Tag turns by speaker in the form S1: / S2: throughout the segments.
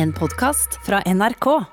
S1: En podkast fra NRK.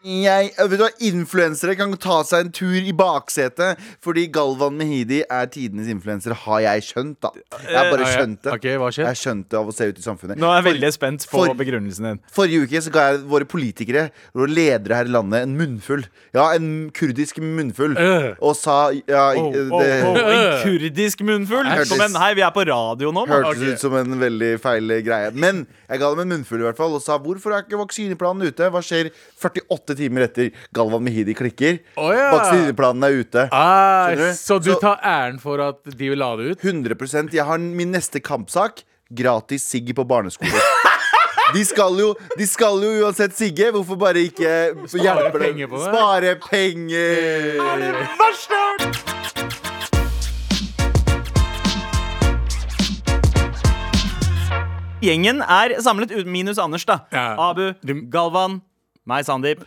S2: Jeg, eh, vet du hva, Influensere kan ta seg en tur i baksetet, fordi Galvan Mehidi er tidenes influenser, har jeg skjønt, da. Jeg har bare
S3: Eh,
S2: skjønt det.
S3: ok, hva skjer?
S2: Jeg skjønte av å se ut i samfunnet.
S3: Nå er jeg veldig spent på
S2: for-
S3: begrunnelsen din.
S2: Forrige uke så ga jeg våre politikere og ledere her i landet en munnfull. Ja, en kurdisk munnfull.
S3: Øh.
S2: Og sa ja,
S3: Oh,
S2: det,
S3: oh, oh, en kurdisk munnfull?
S2: Hørtes-
S3: Som en, hei, vi er på radio nå. mann.
S2: Hørtes ut som en veldig feil greie. Men jeg ga dem en munnfull i hvert fall og sa hvorfor er ikke vaksineplanen ute? Hva skjer 48 timer etter Galvan Mehidi klikker?
S4: Å, ja.
S2: Vaksineplanen er ute.
S4: Ah,
S2: Skjønner du?
S4: så du
S2: Så-
S4: tar æren for at de vil la det ut?
S2: 100 Jeg har min neste kampsak. Gratis sigg på barneskole. De skal, jo, de skal jo uansett sigge. Hvorfor bare ikke hjelpe dem?
S4: penger på det.
S2: Spare penger!
S3: Gjengen er samlet, ut- minus Anders, da.
S4: Ja.
S3: Abu,
S4: Du-
S3: Galvan, meg, Sandeep.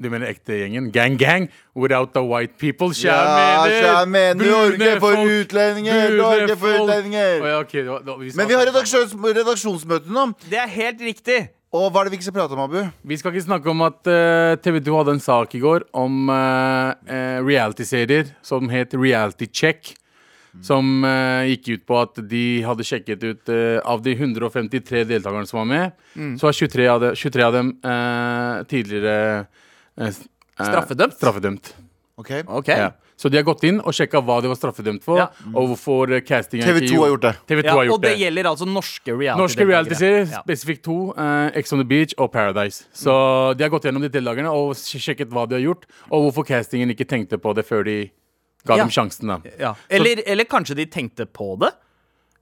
S4: Du mener ekte gjengen? Gang, gang. Without the white people.
S2: Ja, kjære mener, Norge for
S4: folk-
S2: utlendinger,
S4: brune
S2: Norge for
S4: folk.
S2: utlendinger.
S4: Å, ja, ok, det var- det var- vi skal-
S2: Men vi har redaksjons redaksjonsmøte nå.
S3: Det er helt riktig.
S2: Og hva er det vi ikke skal prate om, Abu?
S4: Vi skal ikke snakke om at eh, TV 2 hadde en sak i går om eh, eh, reality-serier som het Reality Check. Som eh, gikk ut på at de hadde sjekket ut eh, Av de 153 deltakerne som var med,
S3: Mm.
S4: så var 23 av, de, 23 av dem eh, tidligere eh, s- eh,
S5: Straffedømt?
S4: straffedømt.
S2: Ok
S5: Ok.
S4: Ja. Så de har gått inn og sjekka hva de var straffedømt for,
S3: Ja.
S4: og hvorfor eh, castingen
S2: TV
S4: ikke
S2: 2 har gjort det.
S4: TV 2
S3: Ja,
S4: har gjort
S3: og det
S4: det.
S3: gjelder altså norske reality
S4: Norske realityserier,
S3: Ja.
S4: spesifikt to. eh, Ex on the Beach og Paradise. Så
S3: Mm.
S4: de har gått gjennom de deltakerne og sj- sjekket hva de har gjort, og hvorfor castingen ikke tenkte på det før de ga
S3: Ja.
S4: dem sjansen. da
S3: Ja. Eller, eller kanskje de tenkte på det?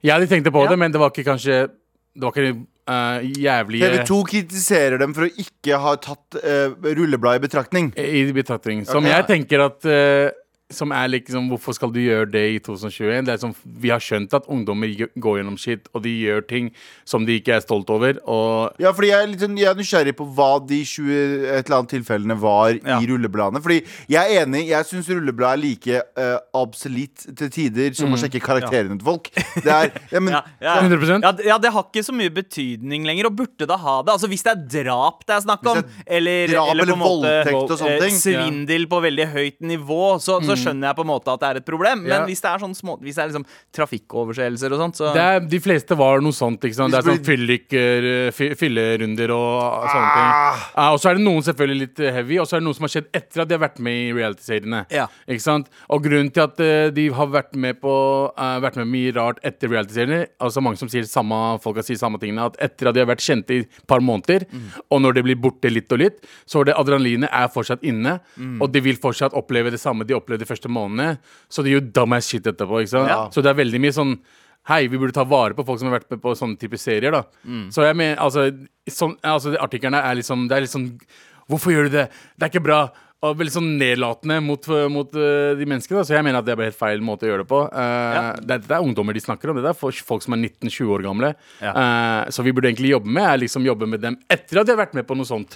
S4: Ja, de tenkte på
S3: Ja.
S4: det, men det var ikke kanskje Det var ikke uh, jævlige
S2: TV 2 kritiserer dem for å ikke ha tatt eh, rullebladet i betraktning.
S4: eh, I betraktning. Som
S2: Ok.
S4: jeg tenker at eh, Som er liksom Hvorfor skal du gjøre det i 2021? Det er som, Vi har skjønt at ungdommer gjø- går gjennom shit, og de gjør ting som de ikke er stolt over. Og
S2: Ja, fordi jeg er, litt, sånn- jeg er nysgjerrig på hva de 20 et eller annet tilfellene var
S3: Ja.
S2: i rullebladene. Fordi jeg er enig, jeg syns rullebladet er like uh, obsolitt til tider som å sjekke karakterene til folk. Det er, ja, men,
S3: Mm. Ja, ja.
S4: 100%.
S3: Ja, d- ja, det har ikke så mye betydning lenger, og burde da ha det. Altså Hvis det er drap det er snakk om,
S2: Hvis det
S3: eller,
S2: drap
S3: eller, på
S2: eller
S3: en måte
S2: voldtekt og sånne
S3: eh,
S2: ting.
S3: svindel på veldig høyt nivå, så, så skjønner jeg på en måte at det er et problem. Men
S4: Mm. Ja.
S3: hvis det er sånn små Hvis det er liksom trafikkoverskjelelser og sånt, så
S4: det er, de fleste var noe sånt. ikke sant? Det er
S2: Hvis
S4: sånn fylliker, eh, fy- fyllerunder og sånne ting. Ja, og så er det noen selvfølgelig litt eh, heavy, og så er det noe som har skjedd etter at de har vært med i reality-seriene.
S3: Ja.
S4: Ikke sant? Og grunnen til at eh, de har vært med på eh, Vært med mye rart etter reality-seriene Altså mange som sier samme Folk har sier samme tingene At etter at de har vært kjente i et par måneder Og når det blir borte litt og litt Så er det adrenalinet er fortsatt inne Og de vil fortsatt oppleve det samme de opplevde de første månedene Så det er jo dumbass shit etterpå ikke sant?
S3: Ja.
S4: Så det er veldig mye sånn Hei, vi burde ta vare på folk som har vært med på sånne type serier da Så jeg mener, altså, sånn, altså Artiklerne er liksom Det er litt sånn Hvorfor gjør du det? Det er ikke bra. Og veldig sånn nedlatende mot, mot øh, de menneskene. da. Så jeg mener at det er bare helt feil måte å gjøre det på. Eh, det, det er ungdommer de snakker om. Det er folk, folk som er 19-20 år gamle. Eh, så vi burde egentlig jobbe med er liksom jobbe med dem etter at de har vært med på noe sånt.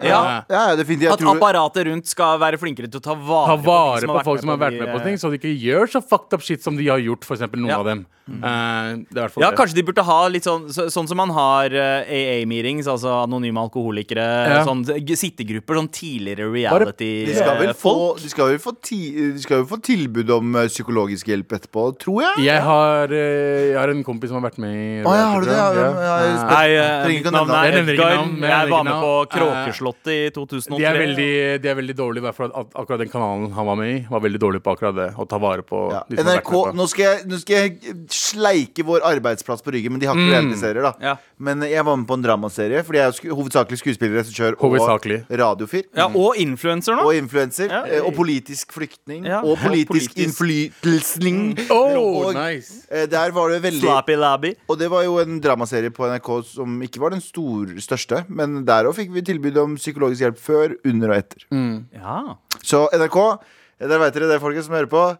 S3: Ja.
S4: Eh,
S2: ja, ja, definitivt. Jeg
S3: At
S2: tror,
S3: apparatet rundt skal være flinkere til å ta vare,
S4: Ta vare på folk som har vært
S3: de,
S4: med på
S3: eh,
S4: ting, så de ikke gjør så fucked up shit som de har gjort, f.eks. noen
S3: Ja.
S4: av dem. Eh, det er i hvert fall
S3: Ja,
S4: det.
S3: kanskje de burde ha litt sånn så, Sånn som man har eh, AA-meetings, altså anonyme alkoholikere,
S4: Ja.
S3: sånn g- sittegrupper, sånn tidligere eh,
S4: Bare-
S2: de skal vel få,
S3: reality-folk.
S2: de skal vel få, ti, de skal vel få tilbud om eh, psykologisk hjelp etterpå, tror jeg.
S4: Jeg har, eh, jeg har en kompis som har vært med i
S2: Å, ja, har du det? Ja, ja, ja, jeg
S4: Eh,
S2: spør-
S3: Nei,
S2: Trenger
S3: eh,
S2: ikke
S3: mitt
S2: å nevne
S3: navn
S2: navn.
S3: er
S4: Jeg nevner ikke
S3: Edgar.
S4: navn, men jeg
S3: Jeg var
S4: nevner ikke
S3: med på
S4: navn.
S3: Kråkeslottet i 2003.
S4: De er, veldig, de er veldig dårlige, i hvert fall at akkurat den kanalen han var med i, var veldig dårlig på akkurat det. Å ta vare på
S2: Ja.
S4: de som har vært
S2: NRK,
S4: med på.
S2: nå skal, jeg, nå skal jeg sleike vår arbeidsplass på ryggen, men de har ikke realityserier, da.
S3: Mm. Ja.
S2: Men jeg var med på en dramaserie, fordi jeg er jo sku, hovedsakelig skuespiller, regissør
S4: Hovedsakelig.
S2: og radiofyr.
S3: Ja, og influenser nå.
S2: Og influenser.
S3: Ja.
S2: eh, Og politisk flyktning.
S3: Ja.
S2: Og politisk,
S3: Politisk.
S2: innflytelsning.
S4: Oh,
S2: og,
S4: nice.
S2: eh, Der var det veldig
S3: Slappy Labby.
S2: Og det var jo en dramaserie på NRK som ikke var den stor, største, men der òg fikk vi tilbud om psykologisk
S3: Mm.
S2: hjelp før, under og etter.
S3: Ja.
S2: Så NRK, eh, der veit dere det, folkens som hører på.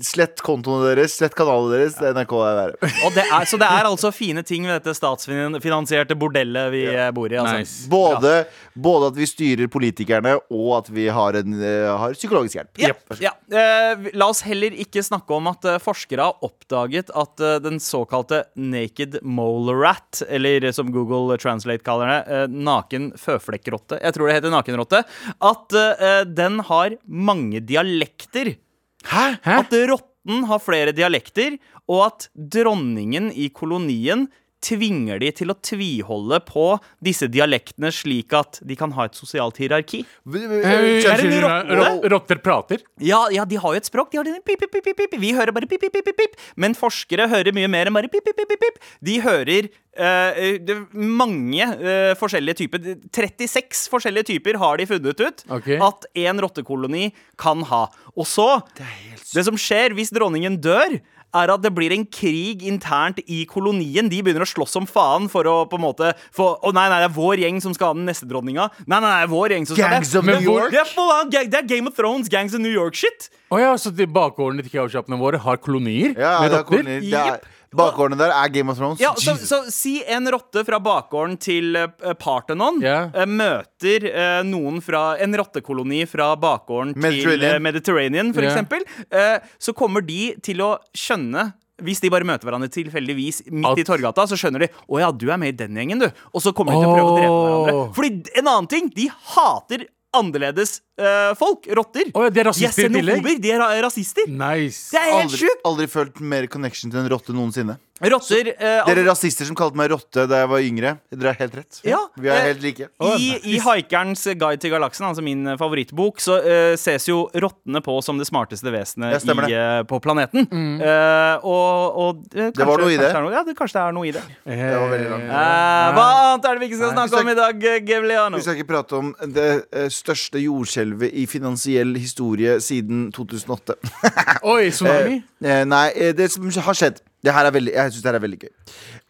S2: Slett kontoene deres, slett kanalene deres. Det er NRK er verre.
S3: Og det er, så det er altså fine ting ved dette statsfinansierte bordellet vi eh, bor i. Altså.
S4: Nice.
S2: Både, både at vi styrer politikerne, og at vi har, en, eh, har psykologisk hjelp.
S3: Ja, ja. Eh, vi- la oss heller ikke snakke om at eh, forskere har oppdaget at eh, den såkalte naked mole rat, eller eh, som Google Translate kaller det, eh, naken føflekkrotte, jeg tror det heter nakenrotte, at eh, den har mange dialekter.
S4: Hæ? Hæ?
S3: At rotten har flere dialekter, og at dronningen i kolonien tvinger de til å tviholde på disse dialektene slik at de kan ha et sosialt hierarki.
S4: Eh,
S3: Er det en
S4: unnskyld,
S3: rotte?
S4: rot- Rotter prater?
S3: Ja, ja, de har jo et språk. De har denne pip, pip, pip, pip, pip. Vi hører bare pip, pip, pip, pip, pip. Men forskere hører mye mer enn bare pip, pip, pip, pip, pip. De hører eh, eh, det- mange eh, forskjellige typer. 36 forskjellige typer har de funnet ut
S4: Ok.
S3: at en rottekoloni kan ha. Og så Det som skjer hvis dronningen dør, er at det blir en krig internt i kolonien. De begynner å slåss som faen for å på en måte få Å nei, nei, det er vår gjeng som skal ha den neste dronninga. Nei, nei, nei, det er vår gjeng som skal
S2: Gangs of
S3: Men
S2: New
S3: hvor-
S2: York?
S3: Det er, full on, gang- det er Game of Thrones, Gangs of New York-shit.
S4: Å ja, så de bakgårdene til kebabsjappene våre har kolonier
S2: Ja,
S4: med
S2: det er
S4: rotter?
S2: kolonier. Det er- Bakgårdene der er Game of Thrones.
S3: Ja, så,
S2: Jesus.
S3: så si en rotte fra bakgården til eh, Parthenon
S4: Ja.
S3: eh, møter eh, noen fra en rottekoloni fra bakgården til
S2: Mediterranean.
S3: eh, Mediterranean, for
S4: Ja.
S3: eksempel. Eh, så kommer de til å skjønne hvis de bare møter hverandre tilfeldigvis midt
S4: At-
S3: i Torgata, så skjønner de Å ja, du er med i den gjengen, du. Og så kommer de til å prøve å drepe
S4: Åh.
S3: hverandre. Fordi d- en annen ting, de hater annerledes eh, folk. Rotter.
S4: Å ja, de er
S3: de er
S4: rasister i tillegg?
S3: xenofober. De er ra- rasister.
S4: Nice.
S3: Det er helt
S2: Aldri,
S3: sjukt!
S2: aldri følt mer connection til en rotte noensinne.
S3: Rotter eh,
S2: Dere rasister som kalte meg rotte da jeg var yngre, dere har helt rett.
S3: Ja.
S2: Vi er
S3: Eh,
S2: helt like.
S3: I, I Haikerens Guide til galaksen, altså min eh, favorittbok, så eh, ses jo rottene på som det smarteste
S2: Ja,
S3: vesenet
S2: stemmer
S3: i, eh, på planeten. Eh, og og eh, kanskje,
S2: Det var noe i
S3: kanskje
S2: det.
S3: er noe, ja, det, kanskje det er noe i det.
S4: det
S2: var veldig langt.
S3: Eh, hva annet er det vi ikke skal snakke om i dag, eh, Gevliano?
S2: Vi skal ikke prate om det eh, største jordskjelvet i finansiell historie siden 2008.
S4: Oi, tsunami?
S2: Eh, nei, eh, det som har skjedd det her er veldig, Jeg syns det her er veldig gøy.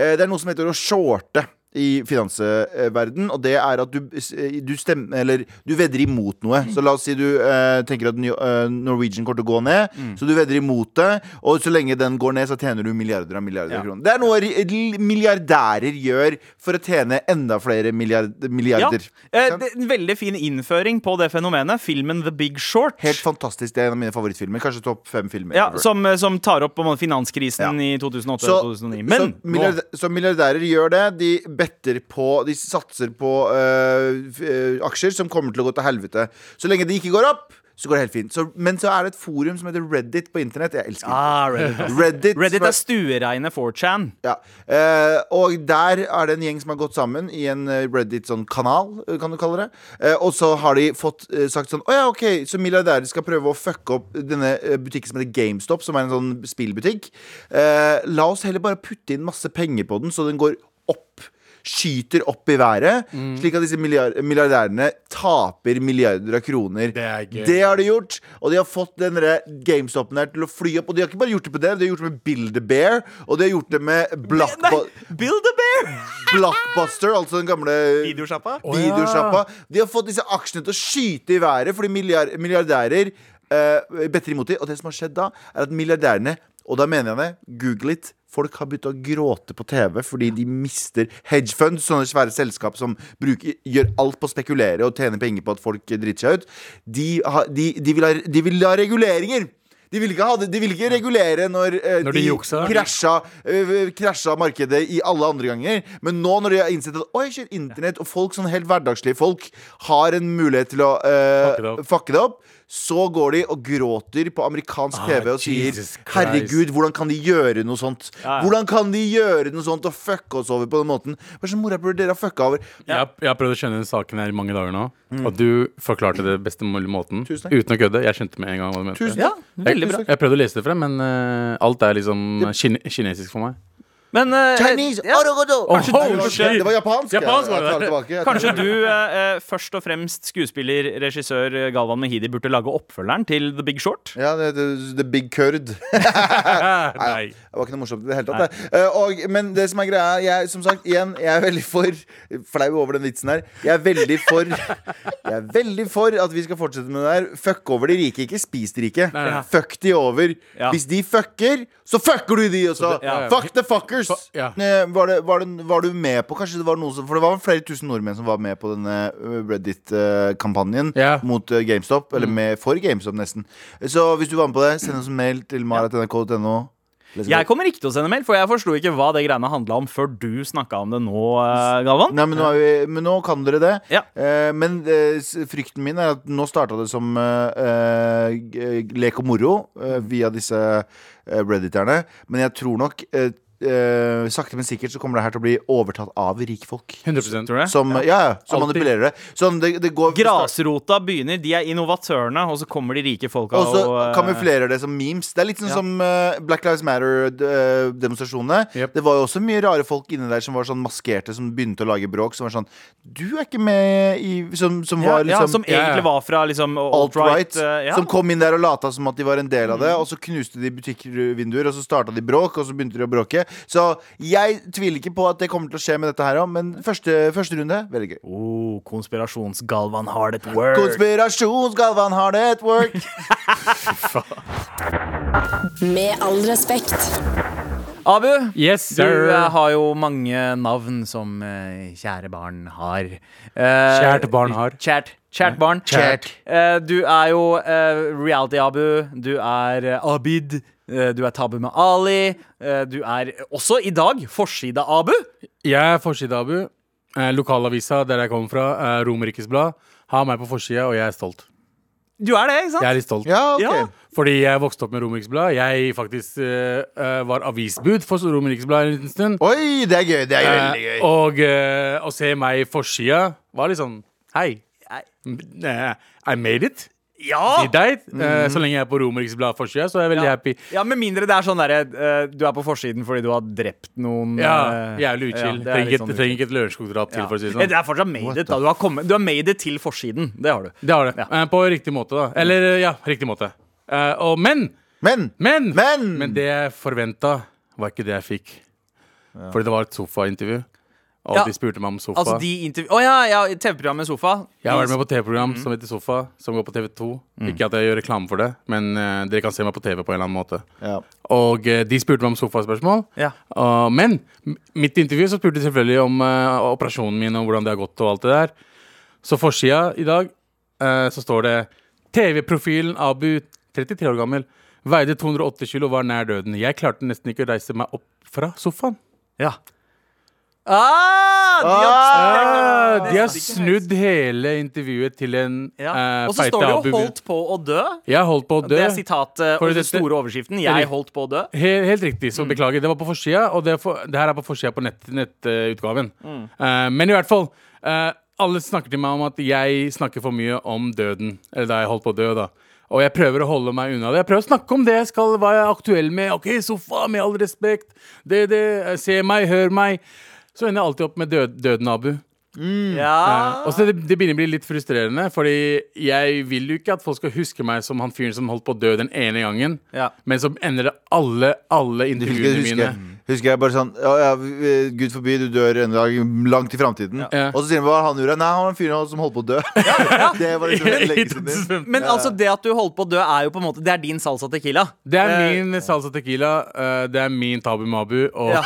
S2: Eh, det er noe som heter å shorte i finansverden, og det er at du, eh, du stemmer Eller du vedder imot noe. Så la oss si du eh, tenker at New- eh, Norwegian kommer til å gå ned,
S3: Mm.
S2: så du vedder imot det, og så lenge den går ned, så tjener du milliarder av milliarder
S3: Ja.
S2: av kroner. Det er noe ri- l- milliardærer gjør for å tjene enda flere milliard,
S3: Ja,
S2: milliarder.
S3: eh, det, en veldig fin innføring på det fenomenet. Filmen The Big Short.
S2: Helt fantastisk. Det er en av mine favorittfilmer. Kanskje topp fem filmer.
S3: ja,
S2: ever.
S3: som, eh, som tar opp på en måte finanskrisen i 2008-2009. Men
S2: så, milliard, så milliardærer gjør det. De better på De satser på øh, f- øh, aksjer som kommer til å gå til helvete. Så lenge de ikke går opp, så går det helt fint. Så, men så er det et forum som heter Reddit på internett. Jeg elsker det.
S3: Ah, Reddit.
S2: Reddit,
S3: Reddit
S2: som
S3: er stuereine 4chan.
S2: ja. Eh, og der er det en gjeng som har gått sammen i en eh, Reddit-kanal, kan du kalle det. Eh, og så har de fått eh, sagt sånn Å ja, OK, så milliardærer skal prøve å fucke opp denne eh, butikken som heter GameStop, som er en sånn spillbutikk. Eh, la oss heller bare putte inn masse penger på den, så den går opp. Skyter opp i været,
S4: Mm.
S2: slik at disse milliard milliardærene taper milliarder av kroner.
S4: Det er gøy.
S2: Det har de gjort, og de har fått den der GameStopen her til å fly opp. Og de har ikke bare gjort det på det, de har gjort det med Build-A-Bear, og de har gjort det med
S3: Nei,
S2: Blockbu
S3: Build a Bear!
S2: Blockbuster, altså den gamle
S3: Videosjappa.
S4: Å, ja.
S2: videosjappa. De har fått disse aksjene til å skyte i været fordi milliard milliardærer eh, better imot dem. Og det som har skjedd da, er at milliardærene, og da mener jeg det, google it. Folk har begynt å gråte på TV fordi de mister hedge funds, sånne svære selskap som bruker, gjør alt på å spekulere og tjene penger på at folk driter seg ut. De, har, de, de, vil, ha, de vil ha reguleringer! De vil ikke, ha det, de vil ikke regulere når, eh,
S4: Når de juksa.
S2: krasja, øh, krasja markedet i alle andre ganger. Men nå når de har innsett at oi, shit, internett og folk, sånn helt hverdagslige folk, har en mulighet til å øh,
S4: Fucke det opp.
S2: fucke det opp, så går de og gråter på amerikansk TV og sier
S4: Ah, Jesus Christ.
S2: herregud, hvordan kan de gjøre noe sånt?
S3: Ja, ja.
S2: Hvordan kan de gjøre noe sånt og fucke oss over på den måten? Hva slags morapuler dere har fucka over?
S4: Jeg, jeg har prøvd å skjønne den saken her i mange dager nå, og du forklarte det beste mulige måten.
S2: Mm. Tusen takk.
S4: Uten å kødde. Jeg skjønte med en gang hva du mente.
S2: Tusen
S3: Ja,
S2: takk.
S3: Mm. veldig bra.
S4: Jeg, jeg prøvde å lese det frem, men eh, alt er liksom kine kinesisk for meg.
S3: Men eh,
S2: Chinese,
S3: ja,
S2: orogodo!
S4: Kanskje
S2: Nei,
S4: du-
S2: det var- Det var japansk. ja.
S4: Oh, Japansk var det.
S2: Jeg tar tilbake. Jeg tar
S3: Kanskje
S2: tilbake.
S3: du, eh, eh, først og fremst skuespiller, regissør eh, Galvan Mehidi, burde lage oppfølgeren til The Big Short?
S2: Ja, det, det, The Big Curd.
S4: Nei.
S2: Det var ikke noe morsomt i det hele tatt. det. Eh, og, men det som er greia er, jeg, som sagt, igjen, jeg er veldig for flau over den vitsen her. Jeg er veldig for Jeg er veldig for at vi skal fortsette med det der. Fuck over de rike, ikke spis de rike.
S4: Nei, nei.
S2: Fuck de over.
S3: Ja.
S2: Hvis de fucker, så fucker du de også.
S4: det- ja, ja.
S2: Fuck the fuckers.
S4: Fa- ja.
S2: Eh, Var, det, var, det, var du med på Kanskje det var noe som For det var flere tusen nordmenn som var med på denne eh, Reddit-kampanjen
S4: Ja. Mm.
S2: mot eh, GameStop. Eller med, for GameStop, nesten. Så hvis du var med på det, send oss en mail til maratnrk.no.
S3: Jeg kommer ikke til å sende mail, for jeg forsto ikke hva det greiene handla om før du snakka om det nå, eh, Galvan.
S2: Nei, men nå, er vi, men nå kan dere det.
S3: Ja.
S2: Eh, men eh, s- frykten min er at nå starta det som eh, eh, g- lek og moro eh, via disse eh, redditerne. Men jeg tror nok eh, eh, Sakte, men sikkert så kommer det her til å bli overtatt av rikfolk.
S4: 100
S3: Tror du det?
S2: Som, ja, ja, som
S4: Altid.
S2: manipulerer det. Sånn, det, det går
S3: Grasrota begynner, de er innovatørene, og så kommer de rike folka
S2: Og så
S3: eh,
S2: kamuflerer det som memes. Det er litt sånn
S3: Ja.
S2: som eh, Black Lives Matter-demonstrasjonene.
S4: Jep.
S2: Det var jo også mye rare folk inni der som var sånn maskerte, som begynte å lage bråk. Som var sånn Du er ikke med i Som, som
S3: ja,
S2: var liksom
S3: ja, som
S4: ja, ja.
S3: egentlig var fra liksom
S2: alt-right,
S3: alt-right. ja.
S2: som kom inn der og lata som at de var en del av det. Og så knuste de butikkvinduer, og så starta de bråk, og så begynte de å bråke. Så jeg tviler ikke på at det kommer til å skje med dette her òg, men første, første runde, veldig gøy.
S3: oh, Konspirasjonsgalvan hard at work.
S2: Konspirasjonsgalvan har det at work.
S1: Med all respekt.
S3: Abu,
S4: Yes,
S3: du
S4: sir.
S3: eh, har jo mange navn som eh, kjære barn har. Eh,
S4: Kjært barn har.
S3: Kjært, kjært barn.
S2: Kjært.
S3: Eh, du er jo eh, Reality-Abu. Du er eh, Abid. eh, du er Tabu med Ali. eh, du er også i dag forside-Abu.
S4: Jeg er forside-Abu. Eh, Lokalavisa der jeg kommer fra, eh, Romerikes Blad. Ha meg på forsida, og jeg er stolt.
S3: Du er det, ikke sant?
S4: Jeg er litt stolt.
S2: Ja, ok.
S3: Ja.
S4: Fordi jeg vokste opp med Romerikes Blad. Jeg faktisk eh, eh, var avisbud for Romerikes Blad en liten stund.
S2: Oi, det er gøy. Det er veldig
S4: Eh,
S2: gøy.
S4: og eh, å se meg i forsida var liksom Hei. Eh, I made it.
S3: Ja!
S4: Did I? Eh, så lenge jeg er på Romerikes Blad forsida, så er jeg veldig
S3: Ja.
S4: happy.
S3: Ja, Med mindre det er sånn derre eh, Du er på forsiden fordi du har drept noen
S4: Ja,
S3: eh,
S4: Jævlig uchill.
S3: ja, det er
S4: trenger,
S3: litt
S4: ikke-
S3: sånn
S4: trenger ikke et Lørenskog-drap til,
S3: Ja.
S4: for å si det
S3: Ja,
S4: sånn.
S3: Det er fortsatt made it. da Du har, kommet, du har made it til forsiden. Det har du.
S4: Det har det. Eh, På riktig måte, da. Eller eh, ja, riktig måte. Eh, og men,
S2: Men
S4: men,
S2: Men!
S4: men det jeg forventa, var ikke det jeg fikk. Fordi det var et sofaintervju, og
S3: Ja.
S4: de spurte meg om sofa.
S3: Altså de intervju... Å ja, ja TV-programmet Sofa.
S4: Jeg har vært med på TV-program som heter Sofa, som går på TV2. Ikke at jeg gjør reklame for det, men eh, dere kan se meg på TV på en eller annen måte.
S2: ja.
S4: Og eh, de spurte meg om sofaspørsmål.
S3: Ja.
S4: Uh, men m- mitt intervju så spurte de selvfølgelig om eh, operasjonen min og hvordan det har gått. og alt det der Så forsida i dag eh, så står det TV-profilen Abu, 33 år gammel, veide 208 kilo og var nær døden. Jeg klarte nesten ikke å reise meg opp fra sofaen.
S3: Ja. Ah, de har,
S4: Eh, de har snudd hele intervjuet til en
S3: ja.
S4: eh,
S3: Og så
S4: feite
S3: står det
S4: Abu.
S3: jo 'holdt på å dø'.
S4: Jeg holdt på å
S3: Det
S4: dø.
S3: er sitatet
S4: For
S3: og den
S4: dette-
S3: store overskriften.
S4: Eller-
S3: 'Jeg holdt på å dø'.
S4: Helt, helt riktig. Så beklager. Det var på forsida, og det, er for, det her er på forsida på nettutgaven. Nett, eh, utgaven. Eh, men i hvert fall. eh, alle snakker til meg om at jeg snakker for mye om døden. Eller da jeg holdt på å dø, da. Og jeg prøver å holde meg unna det. Jeg prøver å snakke om det jeg skal, hva jeg er aktuell med. Ok, sofa, med all respekt. Det, det, eh, se meg, hør meg. Så ender jeg alltid opp med død, døden, Abu. Mm.
S3: Ja.
S4: Og så det, det begynner å bli litt frustrerende, Fordi jeg vil jo ikke at folk skal huske meg som han fyren som holdt på å dø den ene gangen.
S3: Ja.
S4: Men så ender det alle, alle
S2: Husker,
S4: intervjuene
S2: husker,
S4: mine.
S2: husker jeg bare sånn ja, ja, vi- Gud forby, du dør en dag langt i framtiden.
S4: Ja.
S2: Og så sier de hva han gjorde. Nei, han var en fyr som holdt på å dø. Det var liksom lenge siden.
S3: Men altså, det at du holdt på å dø, er jo på en måte Det er din salsa tequila.
S4: Det er min salsa tequila, eh, det er min tabu mabu. Og
S3: Ja.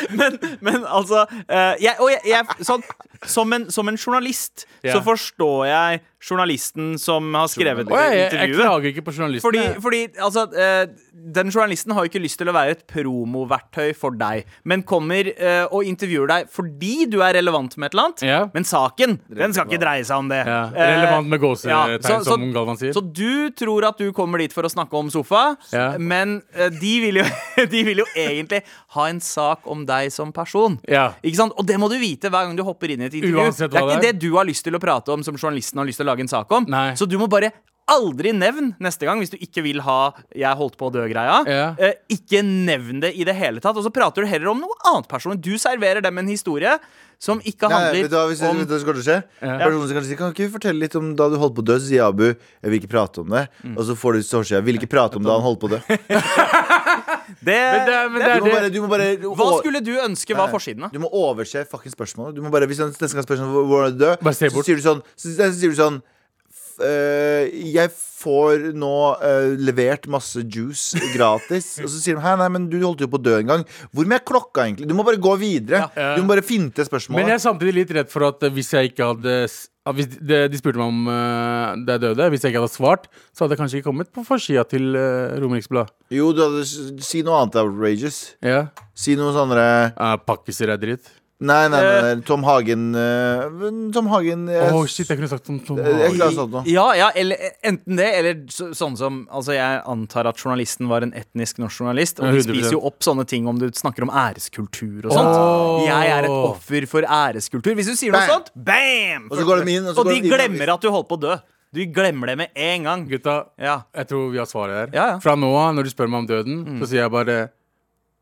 S3: men, men altså eh, jeg, Og jeg, jeg sånn, som, en, som en journalist
S4: Ja.
S3: så forstår jeg journalisten som har skrevet
S4: Å, jeg, jeg, jeg
S3: intervjuet.
S4: klager ikke på journalistene.
S3: Fordi, fordi altså, eh, Den journalisten har jo ikke lyst til å være et promoverktøy for deg, men kommer eh, og intervjuer deg fordi du er relevant med et eller annet.
S4: Ja.
S3: Men saken den skal ikke dreie seg om det.
S4: ja,
S3: Eh,
S4: relevant med gåsetegn,
S3: ja, så-
S4: som
S3: så-
S4: Galvan sier.
S3: så du tror at du kommer dit for å snakke om sofa,
S4: Ja.
S3: men eh, de, vil jo, de vil jo egentlig ha en sak om deg som person.
S4: Ja.
S3: Ikke sant? Og det må du vite hver gang du hopper inn i et intervju.
S4: Uansett
S3: det er
S4: hva
S3: ikke
S4: det er.
S3: det du har lyst til å prate om som journalisten har lyst til å lage en sak om.
S4: Nei.
S3: Så du må bare aldri nevn neste gang hvis du ikke vil ha 'jeg holdt på å dø'-greia.
S4: Ja.
S3: Eh, ikke nevn det i det hele tatt. Og så prater du heller om noe annet person. Du serverer dem en historie som ikke
S2: Nei, vet du hva,
S3: handler
S2: hvis, om...
S3: om
S2: vet du hva som kommer til å skje? Personen som kanskje sier Kan ikke du fortelle litt om da du holdt på å dø? Så sier Abu Jeg vil ikke prate om det.
S4: Mm.
S2: Og så får du sårskjea. Vil ikke prate om da han holdt på å dø. Du
S3: det,
S4: Men det er- men det er
S2: må bare, du må bare
S3: Hva skulle du ønske var forsiden, da?
S2: Eh, Du må overse fucking spørsmålet. Du må bare, Hvis han neste gang spør sånn, hvor- hvordan er du død,
S4: Bare se
S2: så
S4: bort.
S2: sier du sånn, så, så sier du sånn f- øh, jeg får nå øh, levert masse juice gratis. og så sier de Hæ, nei, men du holdt jo på å dø en gang. Hvor med klokka, egentlig? Du må bare gå videre.
S4: Ja.
S2: Du må bare finte spørsmålet.
S4: Men jeg er samtidig litt redd for at eh, hvis jeg ikke hadde s- at hvis de, de spurte meg om eh, da jeg døde. Hvis jeg ikke hadde svart, så hadde jeg kanskje ikke kommet på forsida til uh, Romeriks Blad.
S2: Jo, du hadde, si noe annet outrageous.
S4: Ja.
S2: Si noe sånne
S4: Eh, pakkiser er dritt.
S2: Nei, nei, nei, nei. Tom Hagen eh, men Tom Hagen eh,
S4: Å,
S2: jeg,
S4: shit, jeg kunne sagt om Tom
S2: jeg, jeg
S4: Hagen.
S2: klarer sånt nå.
S3: Ja, ja, eller enten det, eller så, sånn som Altså, jeg antar at journalisten var en etnisk norsk journalist, og
S4: Ja,
S3: du
S4: 100%.
S3: spiser jo opp sånne ting om du snakker om æreskultur og sånt.
S4: Åh.
S3: Jeg er et offer for æreskultur. Hvis du sier noe
S2: Bam.
S3: sånt, bam!
S2: Og så går de inn, og så
S3: Og
S2: går
S3: de
S2: de inn, og-
S3: glemmer at du holdt på å dø. Du glemmer det med en gang.
S4: Gutta,
S3: Ja.
S4: jeg tror vi har svaret her.
S3: Ja, ja.
S4: Fra nå av, når du spør meg om døden, så sier jeg bare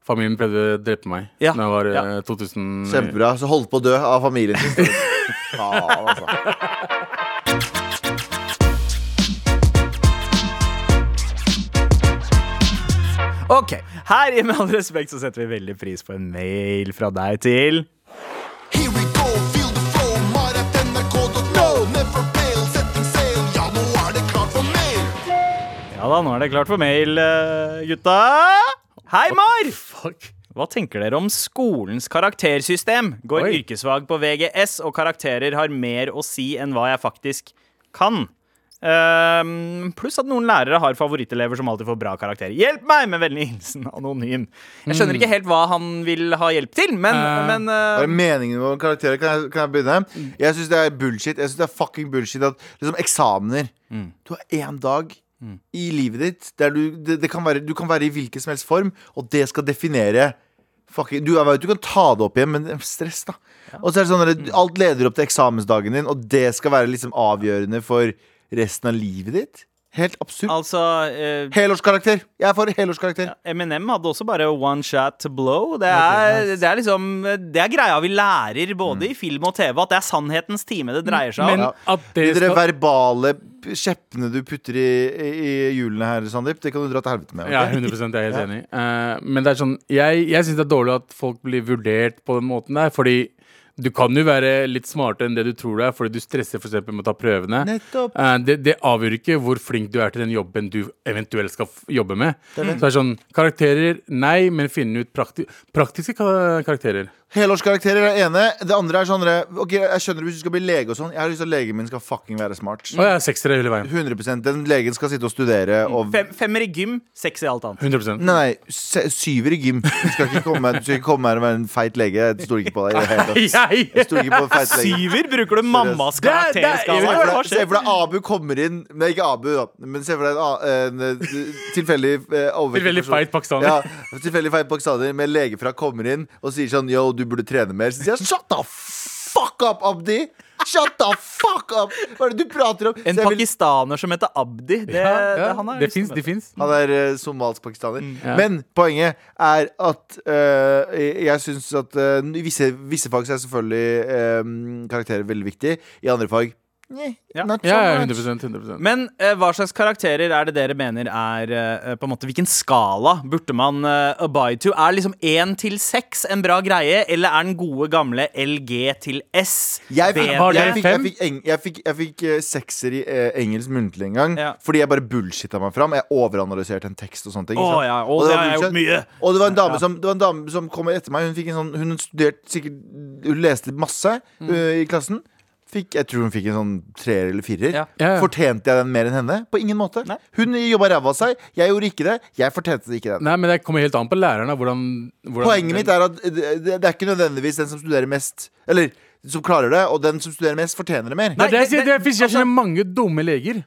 S4: Familien prøvde å drepe meg
S3: Ja.
S4: da jeg var eh,
S3: Ja.
S4: 2000
S2: Kjempebra. Så holdt på å dø av familien sin. Faen, altså.
S3: Ok, her i Med all respekt så setter vi veldig pris på en mail fra deg til
S5: Here we go, feel the flow, maratnrk.no. Never fail, setting sail. Ja, nå er det klart for mer.
S3: Ja da, nå er det klart for mail, eh, gutta. Hei, Mar!
S4: Fuck.
S3: Hva tenker dere om skolens karaktersystem? Går
S4: Oi.
S3: yrkesfag på VGS, og karakterer har mer å si enn hva jeg faktisk kan. Ehm, pluss at noen lærere har favorittelever som alltid får bra karakter. Hjelp meg! Med vennlig hilsen anonym. Jeg skjønner ikke helt hva han vil ha hjelp til, men,
S4: Mm. Eh.
S3: men eh,
S2: Hva er meningen med karakterer? Kan jeg, kan jeg begynne? Jeg syns det er bullshit. Jeg synes det er fucking bullshit at liksom eksamener Du har én dag i livet ditt der du det, det kan være, Du kan være i hvilken som helst form, og det skal definere fucking, du, jeg vet, du kan ta det opp igjen, men det er stress, da. Og så er det sånn at Alt leder opp til eksamensdagen din, og det skal være liksom avgjørende for resten av livet ditt? Helt absurd.
S3: altså eh,
S2: Helårskarakter! Jeg er for helårskarakter.
S3: Eminem hadde også bare one shot to blow. Det er, det er liksom Det er greia vi lærer både i film og TV, at det er sannhetens time det dreier seg om.
S4: Mm. Men
S2: Ja.
S4: at det
S2: De der
S4: skal
S2: verbale p- skjeppene du putter i, i, i hjulene her, Sandeep, det kan du dra til helvete med. ok?
S4: Ja, 100 jeg er helt enig. Eh, men det er sånn, jeg, jeg syns det er dårlig at folk blir vurdert på den måten der, fordi du kan jo være litt smartere enn det du tror du er, fordi du stresser for eksempel med å ta prøvene.
S2: Nettopp.
S4: Eh, det, det avgjør ikke hvor flink du er til den jobben du eventuelt skal f jobbe med. Så det er sånn, karakterer, nei, men finne ut prakti praktiske ka karakterer.
S2: Helårskarakterer er det ene. Det andre er sånn der, Ok, jeg skjønner hvis du skal bli lege og sånn. Jeg har lyst til at legen min skal fucking være smart.
S4: Å ja, seksere hele veien.
S2: 100 Den legen skal sitte og studere og
S3: Fem, femmer i gym, seks i alt annet.
S4: 100
S2: Nei, nei, se- syver i gym. Du skal ikke komme, her- du skal ikke komme her og være en feit lege. Jeg stoler ikke på deg. i Det hele tatt.
S4: Jeg!
S2: Jeg stoler ikke på en feit lege.
S3: Syver bruker du mammas
S4: Det er- det er-
S2: Se
S3: karakterskala.
S2: for
S3: Hva
S2: deg- Se
S3: skjer?
S2: for deg Abu kommer inn Nei, ikke Abu, da. Men se for deg en, a- en, eh, tilfeldig eh, overvektig
S4: Tilfeldig
S2: person.
S4: feit pakistaner.
S2: Ja, tilfeldig feit pakistaner med legefra kommer inn og sier sånn Yo, du burde trene mer. Så sier han shut the fuck up, Abdi! Shut the fuck up! Hva er det du prater om? Så jeg
S3: En
S2: vil-
S3: pakistaner som heter Abdi. Det,
S4: Ja, ja,
S3: det, han er
S4: det
S3: liksom-
S4: fins, det fins.
S2: Han er eh, somalisk-pakistaner. Men poenget er at eh, jeg syns at eh, i visse, visse fag så er selvfølgelig eh, karakterer veldig viktig. I andre fag eh,
S3: Ja.
S2: not so
S4: Ja, ja,
S2: much.
S4: 100 100
S3: Men eh, hva slags karakterer er det dere mener er eh, på en måte Hvilken skala burde man eh, abide to? Er liksom 1 til 6 en bra greie, eller er den gode gamle LG til S?
S2: Jeg fikk,
S3: bedre?
S4: Var det
S2: jeg fikk, jeg
S4: fem?
S2: fikk, eng, jeg fikk, jeg fikk eh, sekser i eh, engelsk muntlig en gang.
S3: Ja.
S2: Fordi jeg bare bullshitta meg fram. Jeg overanalyserte en tekst og sånne ting. ikke
S3: Å,
S2: sant?
S3: ja, å, det
S2: var
S3: har
S2: bullshit.
S3: jeg gjort mye.
S2: Og det var en dame, som, det var en dame som kom etter meg. Hun fikk en sånn Hun studerte sikkert Hun leste masse
S3: Mm.
S2: eh, i klassen. Fikk, jeg tror hun fikk en sånn treer eller firer.
S3: Ja.
S4: Ja, ja.
S2: Fortjente jeg den mer enn henne? På ingen måte.
S3: Nei.
S2: Hun jobba ræva av seg. Jeg gjorde ikke det. Jeg fortjente ikke den.
S4: Nei, men det kommer helt an på læreren. da, Hvordan, hvordan
S2: Poenget mitt er at det, det er ikke nødvendigvis den som studerer mest, eller som klarer det, og den som studerer mest, fortjener det mer.
S4: Nei, det,
S3: Nei,
S4: jeg sier,
S3: det-
S4: det, fins- jeg
S3: altså-
S4: kjenner mange dumme leger.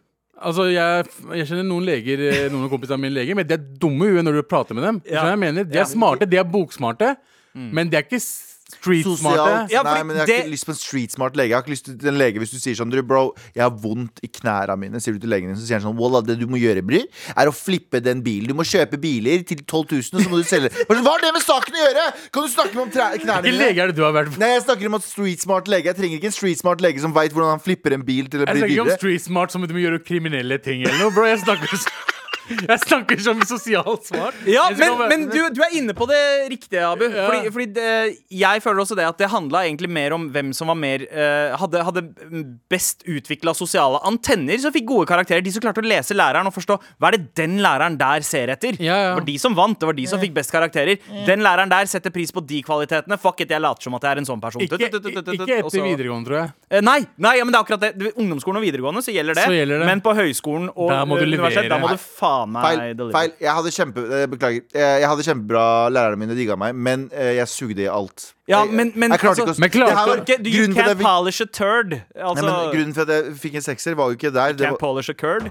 S4: Altså, jeg, jeg kjenner noen leger eh, Noen av kompisene mine er leger, men de er dumme i huet når du prater med dem.
S3: Ja.
S4: Skjønner du hva Jeg mener, De
S3: Ja.
S4: er smarte, de er boksmarte, men de er ikke s- streetsmarte.
S2: Sosialt.
S3: Ja,
S2: Nei,
S3: fordi
S2: men jeg har
S3: det-
S2: ikke lyst på en streetsmart lege. Jeg har ikke lyst til en lege Hvis du sier sånn du, Bro, jeg har vondt i knæra mine, sier du til legen din, så sier han sånn Wallah, det du må gjøre, bror, er å flippe den bilen. Du må kjøpe biler til 12 000, og så må du selge Bare sånn, Hva har det med saken å gjøre?! Kan du snakke med om tre- knærne
S4: Hvilken
S2: mine?
S4: lege er det du har vært på?
S2: Nei, jeg snakker om at streetsmart lege. Jeg trenger ikke en streetsmart lege som veit hvordan han flipper en bil til å
S4: Jeg
S2: bli
S4: snakker ikke om
S2: dyrere.
S4: street smart som du må gjøre kriminelle ting eller noe, bro. Jeg snakker, jeg snakker som sosialt smart.
S3: Ja,
S4: Jeg skal
S3: men,
S4: være-
S3: men du, du er inne på det riktige, Abu.
S4: Ja.
S3: Fordi, fordi det, jeg føler også det at det handla egentlig mer om hvem som var mer eh, hadde, hadde best utvikla sosiale antenner, som fikk gode karakterer. De som klarte å lese læreren og forstå hva er det den læreren der ser etter.
S4: Ja, ja.
S3: Det var de som vant, det var de som fikk best karakterer. Den læreren der setter pris på de kvalitetene. Fuck it, jeg later som at jeg er en sånn person.
S4: Ikke,
S3: Tut, tut, tut, tut, tut,
S4: ikke
S3: og
S4: etter
S3: så-
S4: videregående, tror jeg.
S3: Eh, Nei, nei ja, men det er akkurat det. Du- Ungdomsskolen og videregående så gjelder det.
S4: Så gjelder det.
S3: Men på høyskolen og
S4: Der må
S3: eh,
S4: du
S3: universitet,
S4: levere.
S3: da må du faen meg
S2: Feil.
S3: deliver.
S2: feil Jeg hadde kjempe eh, Beklager. Eh, Jeg hadde kjempebra Lærerne mine digga meg, men eh, jeg sugde i alt.
S3: Ja,
S2: Jeg-
S3: men, altså- men,
S2: jeg klarte ikke å
S4: Men klarte
S2: Det her
S3: Du
S2: var-
S3: kan ikke- du- You
S2: grunnen til at
S3: can't
S2: jeg fikk-
S3: polish a turd. Altså,
S2: Nei, men Grunnen for at jeg fikk en sekser, var jo ikke der. Det
S3: Can't
S2: var,
S3: polish a curd.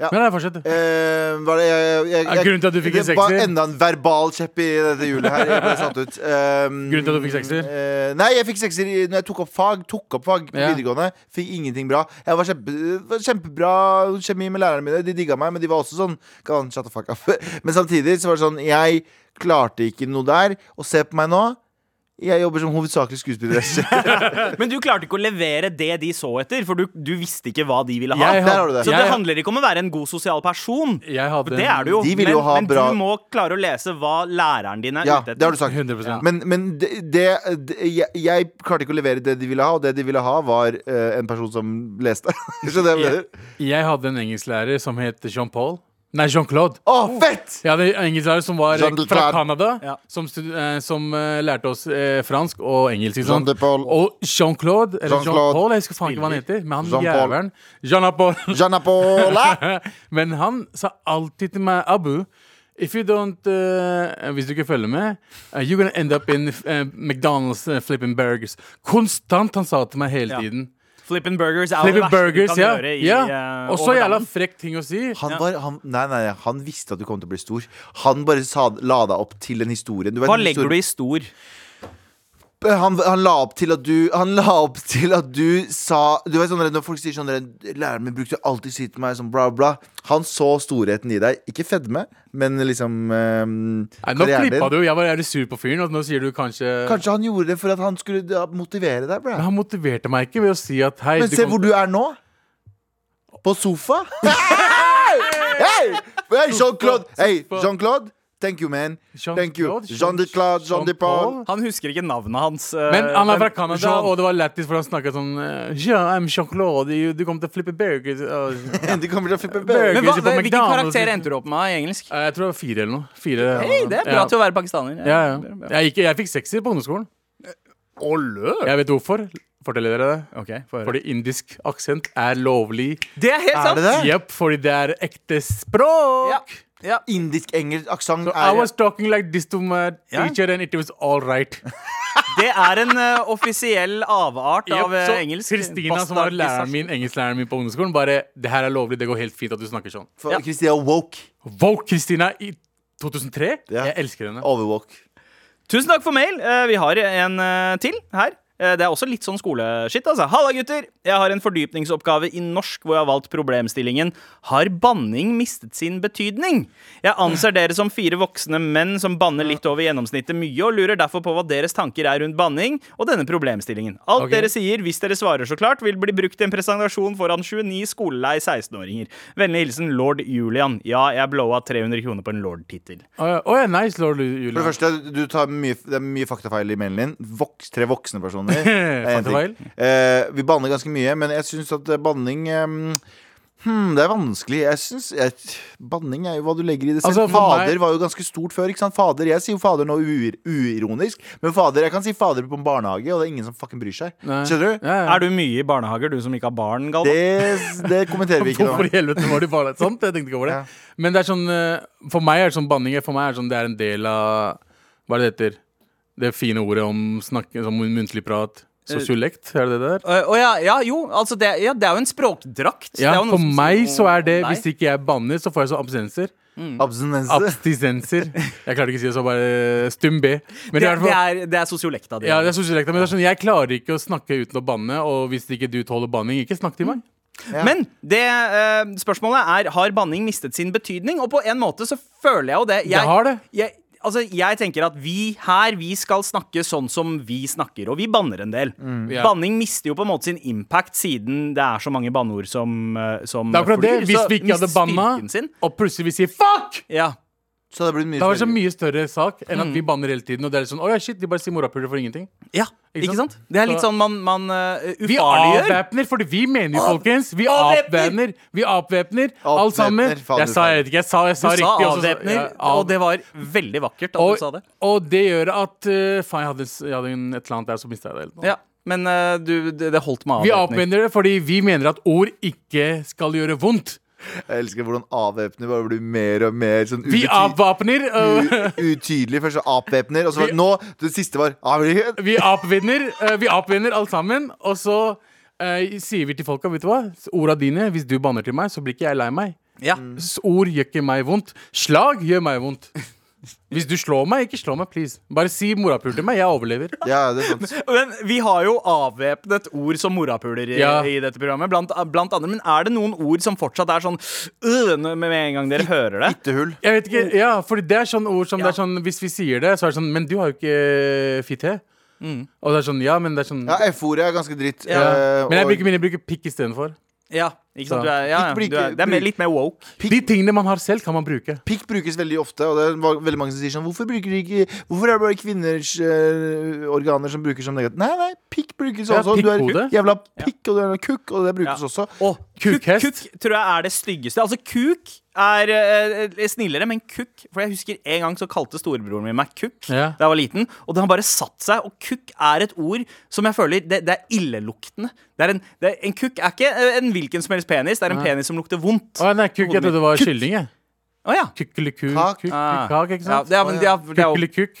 S4: Men nei, fortsett.
S2: eh, var det, jeg, jeg,
S4: Er
S2: jeg,
S4: grunnen til at du fikk en
S2: Det var
S4: sekser?
S2: enda en verbal kjepp i dette hjulet her. Jeg ble satt ut. Um,
S4: Grunnen til at du fikk sekser?
S2: eh, nei, jeg fikk sekser i- når jeg tok opp fag. Tok opp fag på
S4: Ja.
S2: videregående. Fikk ingenting bra. Jeg var, kjempe, var kjempebra kjemi med lærerne mine. De digga meg, men de var også sånn "Kan Shut the fuck up. Men samtidig så var det sånn Jeg klarte ikke noe der. Og se på meg nå. Jeg jobber som hovedsakelig skuespiller.
S3: Men du klarte ikke å levere det de så etter, for du, du visste ikke hva de ville ha.
S4: Jeg
S2: der har du det.
S3: Så det
S4: Jeg-
S3: handler ikke om å være en god sosial person.
S4: Jeg hadde
S3: For det er du jo.
S2: De ville
S3: men,
S2: jo ha
S3: men
S2: bra-
S3: du må klare å lese hva læreren din er
S2: Ja,
S3: ute
S2: det har du
S3: etter.
S2: sagt.
S4: 100%.
S2: Men, men det, det, det jeg, jeg klarte ikke å levere det de ville ha, og det de ville ha, var eh, en person som leste. Skjønner du hva jeg mener?
S4: Jeg hadde en engelsklærer som het Jean-Paul. Nei, Jean-Claude.
S2: Å, fett!
S4: Jeg hadde en engelsklærer som var eh,
S2: Jean-Claude.
S4: fra Canada,
S3: Ja.
S4: som, stud- eh, som eh, lærte oss eh, fransk og engelsk. ikke sant?
S2: Jean-Paul.
S4: Og Jean-Claude, eller
S2: Jean-Claude.
S4: Jean-Paul, jeg husker faen ikke hva han heter. Men han
S2: Jean-Paul.
S4: jævelen Jean-Paul.
S2: Janna Paula!
S4: Men han sa alltid til meg, Abu If you don't, eh, Hvis du ikke følger med, eh, you're gonna end up in eh, McDonald's eh, flipping burgers. Konstant! Han sa til meg hele
S3: Ja.
S4: tiden.
S3: Flippin' burgers er jo det
S4: Flipping
S3: verste
S4: burgers,
S3: du kan
S4: ja.
S3: gjøre i
S4: ja.
S3: eh,
S4: Og så jævla
S3: overdagen.
S4: frekk ting å si.
S2: Han, var, han, nei, nei, nei, han visste at du kom til å bli stor. Han bare sa, la deg opp til en historie. Du vet,
S3: Hva
S2: en
S3: legger
S2: historie-
S3: du i stor?
S2: han, han la opp til at du Han la opp til at du sa Du vet sånn Når folk sier sånn Læreren min brukte alltid å si til meg sånn bla, bla. Han så storheten i deg. Ikke fedme, men liksom eh,
S4: Nei, nå
S2: karrieren din.
S4: klippa du, jeg var jævlig sur på fyren, og nå sier du kanskje,
S2: Kanskje han gjorde det for at han skulle da, motivere deg. Bro.
S4: Men han motiverte meg ikke ved å si at hei
S2: Men se hvor du er nå. På sofa. hey! Hey, Jean-Claude. Hey,
S4: Sofa.
S2: Jean-Claude. Thank you, man. Thank you.
S4: Jean-Claude,
S2: Jean-Claude, Jean-Depaul.
S4: Jean-Paul.
S3: Han husker ikke navnet hans. eh,
S4: Men han er fra Canada,
S3: Jean-
S4: og det var lættis, for han snakka sånn eh, Ja, I'm Jean-Claude, you- du kommer til å flippe burgers og-
S2: De kommer til å flippe bøker.
S4: Burger.
S3: Men hva,
S4: Burgers på
S3: hvilken
S4: McDonald's.
S3: karakter endte du opp med i engelsk?
S4: Eh, Jeg tror det var fire eller noe. Fire,
S3: Hei, det er bra
S4: ja.
S3: til å være pakistaner.
S4: ja, ja. Jeg, gikk, jeg fikk sekser på ungdomsskolen. Jeg vet hvorfor. Forteller dere det?
S3: Ok, få høre.
S4: Fordi indisk aksent er lovlig.
S3: Det er
S2: Er
S3: helt sant!
S2: det det?
S4: Jepp, fordi det er ekte språk.
S3: Ja, ja.
S2: Indisk-engelsk aksent
S4: So I
S2: er
S4: was talking like this to my
S3: Ja.
S4: teacher, and it was all right.
S3: Det er en eh, offisiell avart av
S4: Yep,
S3: eh,
S4: så
S3: engelsk.
S4: Kristina, som var læreren min, engelsklæreren min på ungdomsskolen, bare Det her er lovlig, det går helt fint at du snakker sånn.
S2: for
S3: Ja.
S2: Christina woke.
S4: Vote Kristina i 2003?
S2: Ja.
S4: Jeg elsker henne.
S2: Overwoke.
S3: Tusen takk for mail. Eh, Vi har en eh, til her. Eh, Det er også litt sånn skoleskitt, altså. Halla, gutter! Jeg har en fordypningsoppgave i norsk hvor jeg har valgt problemstillingen Har banning mistet sin betydning? Jeg anser dere som fire voksne menn som banner litt over gjennomsnittet mye, og lurer derfor på hva deres tanker er rundt banning og denne problemstillingen. Alt
S4: Ok.
S3: dere sier, hvis dere svarer så klart, vil bli brukt i en presentasjon foran 29 skolelei 16-åringer. Vennlig hilsen lord Julian. Ja, jeg blowa 300 kroner på en lord-tittel.
S4: Å ja, å ja, nice, Lord Julie.
S2: For det første, du tar mye, det er mye faktafeil i mailen din. Voks, tre voksne personer. Det er en ting.
S4: Faktafeil?
S2: Eh, vi banner ganske mye, men jeg syns at eh, banning eh, hmm, Det er vanskelig. Jeg synes, jeg, Banning er jo hva du legger i det selv.
S4: Altså, for
S2: fader
S4: meg-
S2: var jo ganske stort før. ikke sant? Fader, Jeg sier jo fader nå uir, uironisk, men fader, jeg kan si fader på en barnehage, og det er ingen som fucking bryr seg.
S4: Nei.
S2: Skjønner du?
S4: Ja, ja.
S3: Er du mye i barnehager, du som ikke har barn, Galvan?
S2: Det, det kommenterer vi ikke
S4: Hvorfor
S2: nå.
S4: i helvete var det bare sant? Jeg tenkte ikke over det.
S2: Ja.
S4: Men det er sånn eh, For meg er det sånn banning For meg er det sånn det er en del av Hva er det det heter? Det fine ordet om snakke, som muntlig prat.
S2: Eh,
S4: Sosiolekt, er det det der?
S3: Å å ja, ja, jo. Altså, det, ja, det er jo en språkdrakt.
S4: Ja,
S3: det er jo noe
S4: for
S3: som-
S4: meg så er det Hvis
S3: Nei.
S4: ikke jeg banner, så får jeg sånn abstinenser.
S2: Abstinense.
S4: Abstinenser. Jeg klarte ikke å si det, så bare eh, stum B. Men i
S3: det,
S4: hvert
S3: det
S4: fall-
S3: er, det er sosiolekta di.
S4: ja, det er sosiolekta, men det er sånn, jeg klarer ikke å snakke uten å banne, og hvis ikke du tåler banning, ikke snakk til meg.
S3: Mm. Men det eh, spørsmålet er Har banning mistet sin betydning? Og på en måte så føler jeg jo det. Jeg,
S4: Det har det.
S3: Jeg, altså, jeg tenker at vi her Vi skal snakke sånn som vi snakker, og vi banner en del.
S4: Ja.
S3: Banning mister jo på en måte sin impact siden det er så mange banneord som, eh, som
S4: Det er akkurat det.
S3: flyr,
S4: Hvis
S3: så
S4: vi ikke hadde
S3: mister
S4: banna,
S3: styrken sin.
S4: og plutselig vi sier fuck!
S3: Ja.
S2: Så det blir mye
S4: Det var så
S2: snillere.
S4: mye større sak
S3: Mm.
S4: enn at vi banner hele tiden. Og det er litt sånn, «Å ja, shit, de bare sier morapuler for ingenting.
S3: ja.
S4: Ikke
S3: Ikke
S4: sant?
S3: sant? Det er litt
S4: Så-
S3: sånn man, man eh,
S4: Vi
S3: ufarliggjør.
S4: avvæpner, fordi vi mener jo, folkens. Vi
S3: avvæpner!
S4: avvæpner, vi avvæpner, alt sammen.
S2: Avvæpner, faen,
S4: Jeg
S2: du
S4: sa
S2: sa det.
S4: jeg vet ikke, jeg sa, jeg sa
S3: Du sa
S4: riktig. og så-
S3: avvæpner,
S4: ja, av-
S3: og det var veldig vakkert at
S4: og,
S3: du sa det.
S4: og det gjør at eh, Faen, jeg hadde, jeg hadde en, et eller annet der, så mista jeg det. Eller noe.
S3: Ja, men eh, du, det det holdt med avvæpning.
S4: Vi avvæpner det fordi vi mener at ord ikke skal gjøre vondt.
S2: Jeg elsker hvordan avvæpner bare blir mer og mer sånn
S4: Vi
S2: ubety-
S4: avvæpner. øh,
S2: u- utydelig. Først så avvæpner, og så
S4: Vi-
S2: nå Det siste var avvæpner.
S4: vi avvinner, eh, vi avvinner alt sammen, og så eh, sier vi til folka, vet du hva, orda dine, hvis du banner til meg, så blir ikke jeg lei meg.
S3: Ja.
S4: S- Ord gjør ikke meg vondt. Slag gjør meg vondt. Hvis du slår meg, ikke slå meg, please. Bare si morapul til meg, jeg overlever.
S2: Ja, det er sånn sant.
S3: Men vi har jo avvæpnet ord som morapuler i,
S4: Ja.
S3: i dette programmet. Blant, blant andre, Men er det noen ord som fortsatt er sånn øh, når- med en gang dere hører det?
S2: Fittehull.
S4: Jeg vet ikke, ja, for det er sånne ord som
S3: Ja.
S4: det er sånn, hvis vi sier det, så er det sånn, men du har jo ikke eh, fitte. Og det er sånn, ja, men det er sånn
S2: Ja, F-ordet er ganske dritt.
S4: ja.
S2: eh,
S4: Men jeg
S2: og-
S4: bruker, men jeg bruker pikk istedenfor.
S3: Ja, ikke sant?
S4: Så.
S3: Du er, ja, ja,
S2: Ikke bli-
S3: du er, det er mer, litt mer woke.
S4: De tingene man har selv, kan man bruke.
S2: Pikk brukes veldig ofte, og det er va- veldig mange som sier sånn Hvorfor, bruker de ikke, hvorfor er det bare kvinners eh, organer som brukes som negativt? Nei, nei, pikk brukes
S4: Ja,
S2: også. Du er
S4: pikkhode.
S2: jævla pikk, og du er en kukk, og det brukes
S3: Ja.
S2: også.
S3: Og
S4: Kukhest.
S3: Kuk, tror jeg er det styggeste. Altså, kuk er eh, snillere, men kukk For jeg husker en gang så kalte storebroren min meg kukk
S4: Ja.
S3: da jeg var liten. Og det har bare satt seg. Og kukk er et ord som jeg føler Det, det er illeluktende. Det er en, det er, en kukk er ikke eh, en hvilken som helst penis. Det er en penis som lukter vondt.
S4: Å, nei, kukk, jeg trodde det var kylling, jeg.
S3: Å ja.
S4: Kykeliku,
S2: Kak.
S4: kukk,
S3: Ah.
S4: kak, ikke
S3: Ja,
S4: sant?
S3: det er- men det er- det er jo-
S4: Kukkelikukk.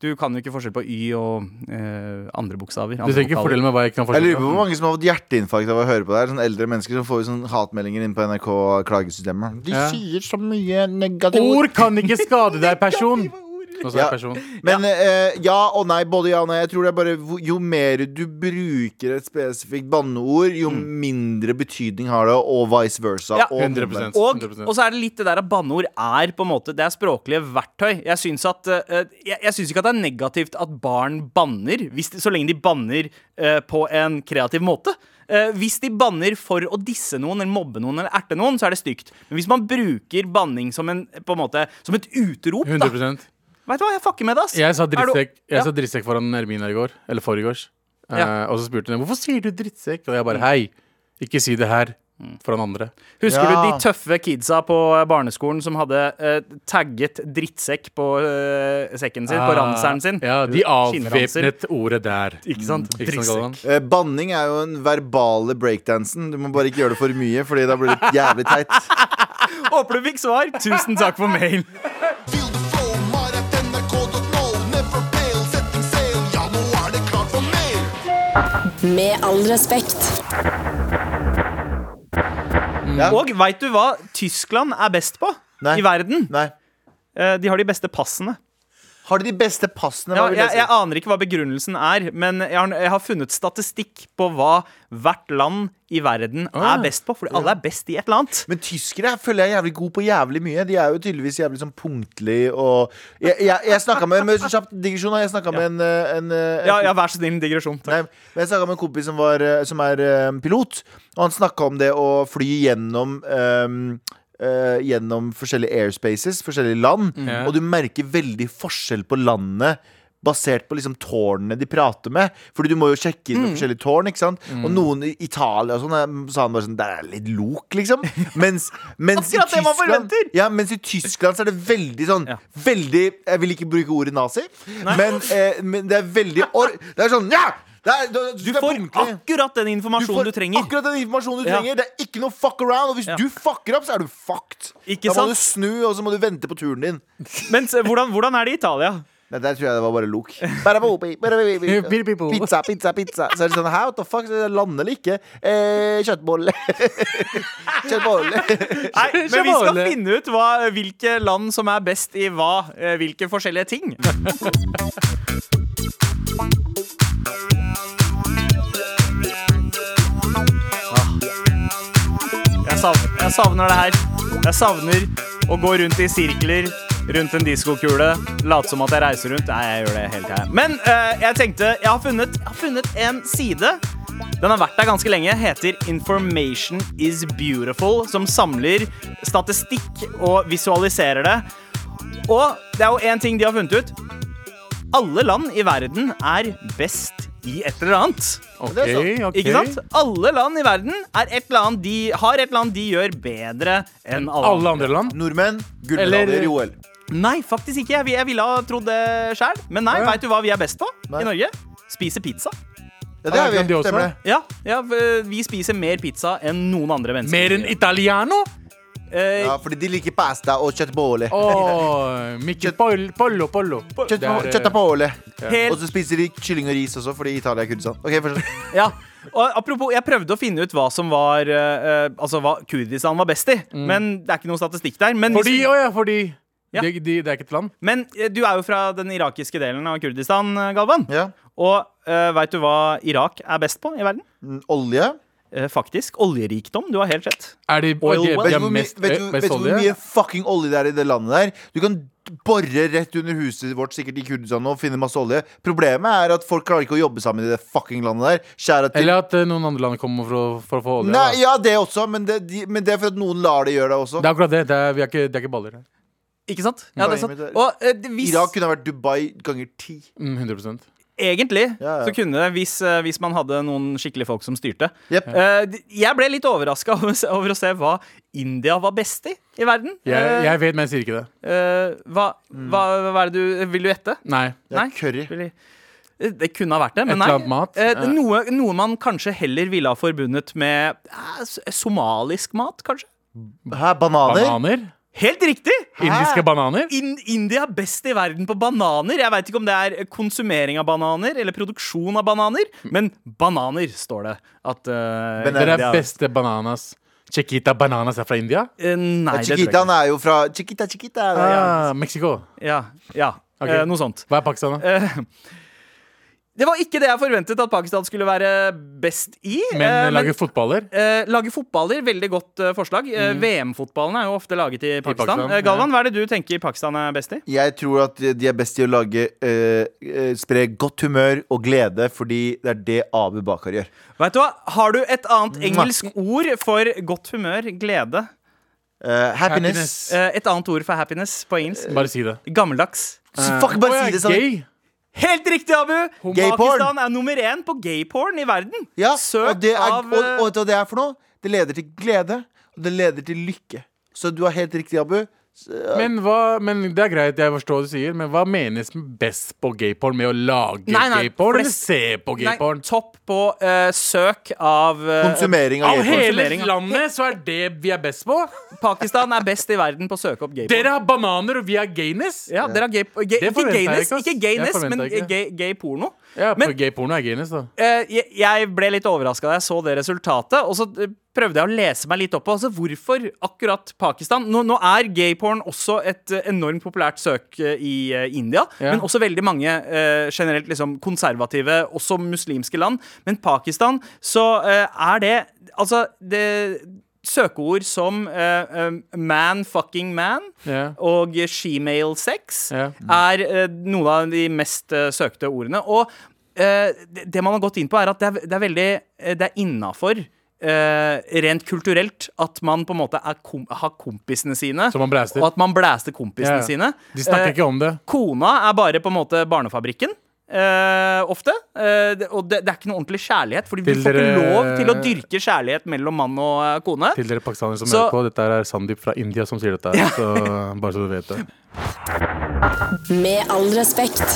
S3: Du kan jo ikke forskjell på Y og eh, andre bokstaver.
S4: Du
S3: Andre
S4: trenger ikke
S3: vokaler.
S4: fortelle meg hva jeg ikke kan
S2: Jeg lurer på
S4: forstå.
S2: hvor mange som har fått hjerteinfarkt av å høre på det her. Sånn eldre mennesker som får jo sånn hatmeldinger inn på NRK-klagesystemet. De
S4: Ja.
S2: sier så mye negative ord.
S4: Ord kan ikke skade deg, person. Nå sa
S2: Ja.
S4: jeg person.
S2: Men eh, ja og nei, både ja og nei. Jeg tror det er bare hvor- Jo mer du bruker et spesifikt banneord, jo mindre betydning har det, og vice versa.
S3: Mm. Ja,
S2: og
S4: 100%.
S3: Og,
S4: 100%.
S3: og så er det litt det der at banneord er på en måte Det er språklige verktøy. Jeg syns at eh, Jeg, jeg syns ikke at det er negativt at barn banner, hvis de, så lenge de banner eh, på en kreativ måte. Eh, hvis de banner for å disse noen, eller mobbe noen, eller erte noen, så er det stygt. Men hvis man bruker banning som, en, på en måte, som et utrop, da
S4: 100
S3: Vet du hva, jeg fucker med det, ass.
S4: Jeg sa
S3: Er du-
S4: drittsekk,
S3: Ja.
S4: jeg sa drittsekk foran Ermina i går. Eller forgårs. Eh,
S3: Ja.
S4: og så spurte hun hvorfor sier du drittsekk. Og jeg bare hei, ikke si det her foran andre.
S3: Husker du
S2: Ja.
S3: de tøffe kidsa på eh, barneskolen som hadde eh, tagget 'drittsekk' på eh, sekken sin, på ranseren sin?
S4: Ah, Ja, De
S3: Skinnranser.
S4: avvæpnet ordet der. Mm,
S3: Ikke sant?
S4: Ikke sant,
S3: Drittsekk.
S4: Galvan?
S2: Eh, Banning er jo den verbale breakdansen. Du må bare ikke gjøre det for mye, Fordi da blir det jævlig teit.
S3: Håper du fikk svar. Tusen takk for mail.
S5: Feel the flow, mar at nrk.no. Never fail, setting sail. Ja, nå er det klart for mer.
S1: Med all respekt.
S3: Og veit du hva Tyskland er best på
S2: Nei.
S3: i verden?
S2: Nei.
S3: Eh, De har de beste passene.
S2: Har de de beste passene?
S3: Ja,
S2: Hva vil
S3: jeg,
S2: jeg si?
S3: jeg aner ikke hva begrunnelsen er, men jeg har, jeg har funnet statistikk på hva hvert land i verden er best på. Fordi alle er best i et eller annet.
S2: Men tyskere føler jeg er jævlig gode på jævlig mye. De er jo tydeligvis jævlig sånn punktlig og Jeg, jeg, jeg snakka med, med Kjapt digresjon. da. Jeg snakka med en, eh, en, eh, en
S3: Ja, ja vær så snill, digresjon. Takk.
S2: Nei, men jeg snakka med en kompis som, var, eh, som er eh, pilot, og han snakka om det å fly gjennom eh, eh, gjennom forskjellige airspaces, forskjellige land.
S3: Mm.
S4: Ja.
S2: Og du merker veldig forskjell på landet basert på liksom tårnene de prater med. Fordi du må jo sjekke
S3: Mm.
S2: inn med forskjellige tårn. ikke sant? Og noen i Italia og sånn, eh, sa han bare sånn Der er det litt lok, liksom. Mens, mens, i
S3: Akkurat det man
S2: Tyskland,
S3: forventer.
S2: ja, mens i Tyskland så er det veldig sånn
S3: Ja.
S2: Veldig Jeg vil ikke bruke ordet nazi, men, eh, men det er veldig or Det er sånn Ja! Det er, du,
S3: Du får akkurat den
S2: du
S3: informasjonen
S2: får
S3: du trenger.
S2: akkurat den informasjonen du
S3: Ja.
S2: trenger. Det er ikke noe fuck around. Og hvis
S3: Ja.
S2: du fucker opp, så er du fucked.
S3: Ikke
S2: da
S3: sant?
S2: må du snu, og så må du vente på turen din.
S3: Men se, eh, hvordan, hvordan er det i Italia?
S2: Nei, der tror jeg det var bare lok. Barabobi, barabobi.
S4: Biribibo.
S2: Pizza, pizza, pizza. Så er det sånn Hæ, what the fuck? Så er det Land eller ikke? Eh, Kjøttbolle. Kjøttbolle.
S3: Nei, men vi skal
S4: Sjabale.
S3: finne ut hva, eh, hvilke land som er best i hva. eh, Hvilke forskjellige ting. Ah. Jeg savner, jeg savner det her. Jeg savner å gå rundt i sirkler rundt en diskokule. Late som at jeg reiser rundt. Nei, jeg gjør det hele tida. Men eh, jeg tenkte jeg har, funnet, jeg har funnet en side. Den har vært der ganske lenge. Heter Information is beautiful. Som samler statistikk og visualiserer det. Og det er jo én ting de har funnet ut. Alle land i verden er best i et eller annet.
S4: OK,
S2: Det er sant.
S4: ok
S3: Ikke sant? Alle land i verden er et eller annet de, har et eller annet de gjør bedre enn alle,
S4: Alle andre land?
S2: Nordmenn,
S4: Eller-
S2: gullmedaljer i OL.
S3: Nei, faktisk ikke. Jeg, vi- jeg ville ha trodd det sjøl. Men nei,
S4: Å, ja.
S3: veit du hva vi er best på
S2: Nei.
S3: i Norge? Spise pizza.
S2: Ja, det
S4: Ja,
S2: er
S4: kan de
S2: vi.
S4: også?
S2: Stemmer det.
S3: Ja, ja, v- vi spiser mer pizza enn noen andre mennesker.
S4: Mer enn italiano?
S3: Eh,
S2: Ja, fordi de liker pasta og kjøttbolle.
S4: Åh, Mikke Pollo, Pollo, Pollo. Det er, eh,
S2: Kjøttbolle.
S3: Helt
S2: Og så spiser de kylling og ris også, fordi Italia er Kurdistan. Ok, fortsett.
S3: Ja, og apropos, jeg prøvde å finne ut hva som var eh, eh, Altså hva Kurdistan var best i. Men det er ikke noe statistikk der. Men,
S4: eh, Fordi, å ja, fordi
S3: Ja.
S4: De, de, Det er ikke et land?
S3: men eh, du er jo fra den irakiske delen av Kurdistan, eh, Galvan.
S2: Ja.
S3: Og uh, veit du hva Irak er best på i verden?
S2: Mm, Olje.
S3: Eh, faktisk. Oljerikdom. Du har helt rett.
S4: Er de,
S3: Oil
S4: de,
S3: well.
S2: Vet du
S4: de er
S2: hvor, mye-
S4: mest, eh,
S2: vet du, vet
S4: mest
S2: du hvor mye
S4: olje?
S2: fucking olje det er i det landet der? Du kan bore rett under huset vårt sikkert i Kurdistan og finne masse olje. Problemet er at folk klarer ikke å jobbe sammen i det fucking landet der. Kjære til
S4: Eller at eh, noen andre land kommer for å, for å få olje?
S2: Nei,
S4: da.
S2: ja, det også, men det, de, men det er for at noen lar det gjøre det også.
S4: Det er akkurat det. Det er, vi er ikke, det er ikke baller.
S3: Ikke sant? Ja, det er sant. Og eh, det- hvis,
S2: Irak kunne ha vært Dubai ganger ti.
S4: Mm, 100
S3: egentlig
S2: Ja, ja.
S3: så kunne det, hvis, eh, hvis man hadde noen skikkelige folk som styrte.
S2: Jep.
S3: Eh, d- jeg ble litt overraska over, å se- over å se hva India var best i i verden.
S4: jeg,
S3: Eh,
S4: jeg vet, men jeg sier ikke det.
S3: eh, hva, hva, hva er det du Vil du gjette?
S4: Nei.
S2: Det er curry.
S3: Vil jeg- eh, Det kunne ha vært det, men
S4: Et
S3: nei.
S4: eller annet mat?
S3: Eh, det er
S4: Ja.
S3: noe, noe man kanskje heller ville ha forbundet med eh, s- somalisk mat, kanskje?
S2: Hæ, bananer?
S4: Bananer?
S3: Helt riktig!
S4: Indiske bananer?
S3: In India er best i verden på bananer. Jeg veit ikke om det er eh, konsumering av bananer eller produksjon av bananer, men bananer står det at eh,
S2: Men det
S4: Dere
S3: India-
S4: er beste bananas. Chiquita bananas er fra India?
S3: Eh, nei, det tror jeg
S2: Chiquitaen
S3: ikke.
S2: er jo fra Chiquita, Chiquita. er det.
S4: Ah, Mexico.
S3: Ja, ja
S4: Ok.
S3: eh, noe sånt. Eh,
S4: Hva er Pakistan, da?
S3: Det var ikke det jeg forventet at Pakistan skulle være best i.
S4: Men
S3: eh,
S4: eh, lager fotballer?
S3: Eh, lage fotballer, veldig godt eh, forslag. Eh, VM-fotballen er jo ofte laget i Pakistan.
S4: Mm. Pakistan,
S3: eh, Galvan,
S4: ja.
S3: hva er det du tenker Pakistan er best i?
S2: Jeg tror at de er best i å lage eh, eh, spre godt humør og glede, fordi det er det Abu Bakar gjør.
S3: Vet du hva? Har du et annet
S4: Mm.
S3: engelsk ord for godt humør, glede?
S2: Eh, happiness.
S4: Happiness.
S3: Eh, et annet ord for happiness på engelsk?
S4: Bare si det.
S3: Gammeldags.
S2: Så fuck, bare si det sånn.
S4: Gay?
S3: Helt riktig, Abu!
S2: Gay
S3: Pakistan er nummer én på gayporn i verden.
S2: Ja,
S3: Søkt
S2: og det er,
S3: av eh,
S2: og, og vet du hva det er for noe? Det leder til glede, og det leder til lykke. Så du har helt riktig, Abu.
S4: Men, hva, men Det er greit, jeg forstår hva du sier, men hva menes med best på gayporn? Med å lage
S3: Nei, nei,
S4: gayporn eller
S3: flest-
S4: se på
S3: Nei,
S4: gayporn?
S3: topp på eh, søk av eh,
S2: Konsumering av
S4: Av
S2: gayporn.
S4: hele
S3: Konsumering, ja.
S4: landet så er det vi er best på?
S3: Pakistan er best i verden på å søke opp gayporn.
S4: Dere har bananer, og vi har gayness?
S3: Ja, dere har gay, gay,
S4: Det
S3: ikke
S4: forventer jeg
S3: gayness,
S4: ikke, ass.
S3: ikke
S4: Jeg
S3: gayness
S4: forventer
S3: men
S4: ikke.
S3: gay, gay porno.
S4: Ja,
S3: Men-
S4: men, Gayporno er gayness, da.
S3: Eh, jeg, jeg ble litt overraska da jeg så det resultatet, og så eh, prøvde jeg å lese meg litt opp på altså, hvorfor akkurat Pakistan. Nå, nå er gayporn også et eh, enormt populært søk eh, i eh, India,
S4: Ja.
S3: men også veldig mange eh, generelt liksom, konservative, også muslimske land. Men Pakistan, så eh, er det Altså, det Søkeord som eh, eh, man fucking man
S4: Ja.
S3: og shemale sex
S4: Ja.
S3: er eh, noen av de mest eh, søkte ordene. Og eh, det det man har gått inn på, er at det er, det er veldig eh, Det er innafor. eh, rent kulturelt at man på en måte er kom, har kompisene sine.
S4: Som man blæster.
S3: Og at man blæster kompisene
S4: Ja, ja.
S3: sine.
S4: De
S3: Eh,
S4: snakker ikke om det.
S3: Kona er bare på en måte barnefabrikken. eh, ofte. Eh, det, og det, det er ikke noe ordentlig kjærlighet. Fordi vi
S4: Til
S3: får ikke
S4: dere-
S3: lov til å dyrke kjærlighet mellom mann og eh, kone.
S4: Til dere pakistanere som
S3: Så-
S4: hører på, dette er Sandeep fra India som sier dette. her, Så bare så du vet det.
S1: Med all respekt.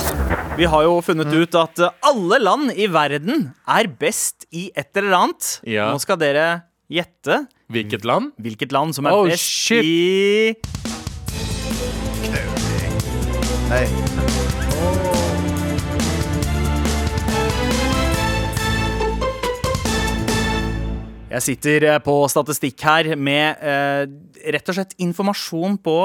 S3: Vi har jo funnet ut at eh, alle land i verden er best i et eller annet.
S4: Ja.
S3: Nå skal dere gjette
S4: Hvilket land?
S3: hvilket land som er
S4: Oh,
S3: best
S4: shit.
S3: i
S2: Nei.
S3: Jeg sitter eh, på statistikk her med eh, rett og slett informasjon på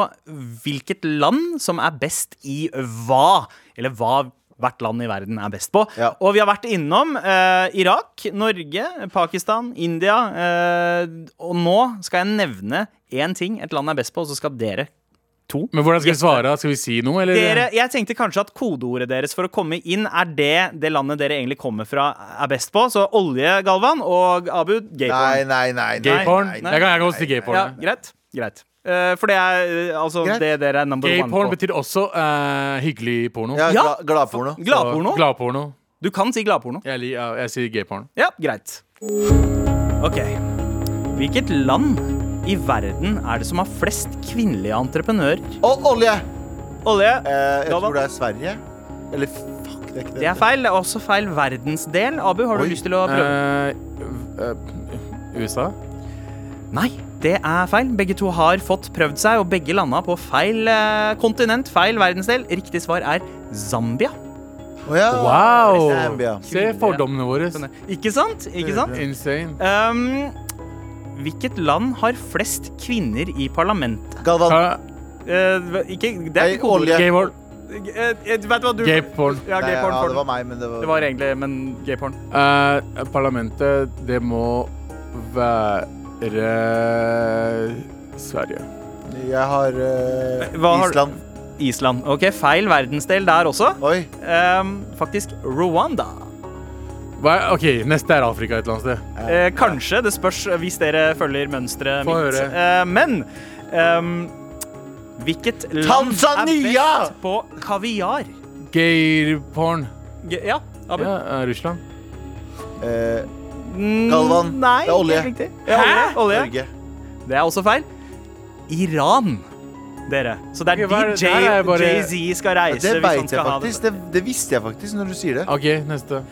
S3: hvilket land som er best i hva. Eller hva hvert land i verden er best på.
S2: Ja.
S3: Og vi har vært innom eh, Irak, Norge, Pakistan, India. eh, og nå skal jeg nevne én ting et land er best på, og så skal dere to
S4: Men hvordan skal vi svare? Skal vi si noe, eller?
S3: dere, jeg tenkte kanskje at kodeordet deres for å komme inn er det det landet dere egentlig kommer fra, er best på. Så olje, Galvan, og Abu,
S2: Nei,
S3: gateporn.
S2: nei, nei. nei,
S4: Gayporn?
S2: nei,
S4: Jeg
S2: nei.
S4: kan jeg kan også si
S3: Ja,
S4: gayporn.
S3: greit. greit. Eh, for det er eh, altså
S2: Greit.
S3: det dere er number
S4: Gayporn
S3: one på.
S4: betyr også eh, hyggelig porno.
S2: Ja,
S3: Ja.
S2: gla- Gladporno.
S3: Gladporno?
S4: Så, Gladporno.
S3: Du kan si gladporno.
S4: Jeg, li- ja, jeg sier gayporn.
S3: Ja, greit. OK. Hvilket land i verden er det som har flest kvinnelige entreprenører?
S2: Og olje!
S3: Olje.
S2: Eh, jeg tror
S3: Galvan?
S2: det er Sverige. Eller fuck, det er ikke det.
S3: Det er feil. Det er også feil verdensdel. Abu, har du
S2: Oi.
S3: lyst til å prøve?
S4: Eh, v- eh, USA?
S3: Nei, det er feil. Begge to har fått prøvd seg, og begge landa på feil eh, kontinent, feil verdensdel. Riktig svar er Zambia.
S2: Å ja.
S3: Ah,
S4: Wow!
S2: Zambia.
S4: Se fordommene våre.
S3: Sånn Ikke sant? Ikke sant?
S4: Insane.
S3: Um, hvilket land har flest kvinner i parlamentet?
S2: Galvan.
S4: Uh,
S3: Eh, ikke, det er
S2: Nei,
S3: ikke kodeord.
S2: olje.
S4: Gayporn.
S3: Eh, eh, Vet du hva du
S4: Gayporn.
S3: Ja,
S2: Nei,
S3: gay porn.
S2: ja,
S3: for
S2: det
S3: den.
S2: var meg, men det var,
S3: Det var egentlig Men gay porn.
S4: Eh, parlamentet, det må være Sverige.
S2: Jeg har eh,
S3: Hva har-
S2: Island.
S3: Island. OK, feil verdensdel der også.
S2: Oi.
S3: Um, faktisk Rwanda.
S4: Hva er, OK, neste er Afrika et eller annet sted.
S3: Eh, kanskje. Det spørs eh, hvis dere følger mønsteret
S4: Få
S3: mitt.
S4: høre.
S3: Eh, men ehm, hvilket land
S2: Tanzania!
S3: er best på kaviar?
S4: Gayporn.
S3: G ja, Abu.
S4: Ja, eh, Russland.
S2: Eh,
S3: Mm,
S2: Galvan,
S3: Nei,
S2: det er olje.
S3: helt riktig. Ja, olje, olje.
S2: Norge.
S3: Det er også feil. Iran, dere. Så det er
S4: Ok, hva er det-
S3: dit Jay-
S4: der er jeg bare-
S3: Jay-Z skal reise.
S2: Det
S3: hvis han
S2: veit
S3: skal
S2: jeg
S3: ha det.
S2: faktisk. Det, det visste jeg faktisk når du sier det.
S4: OK, neste.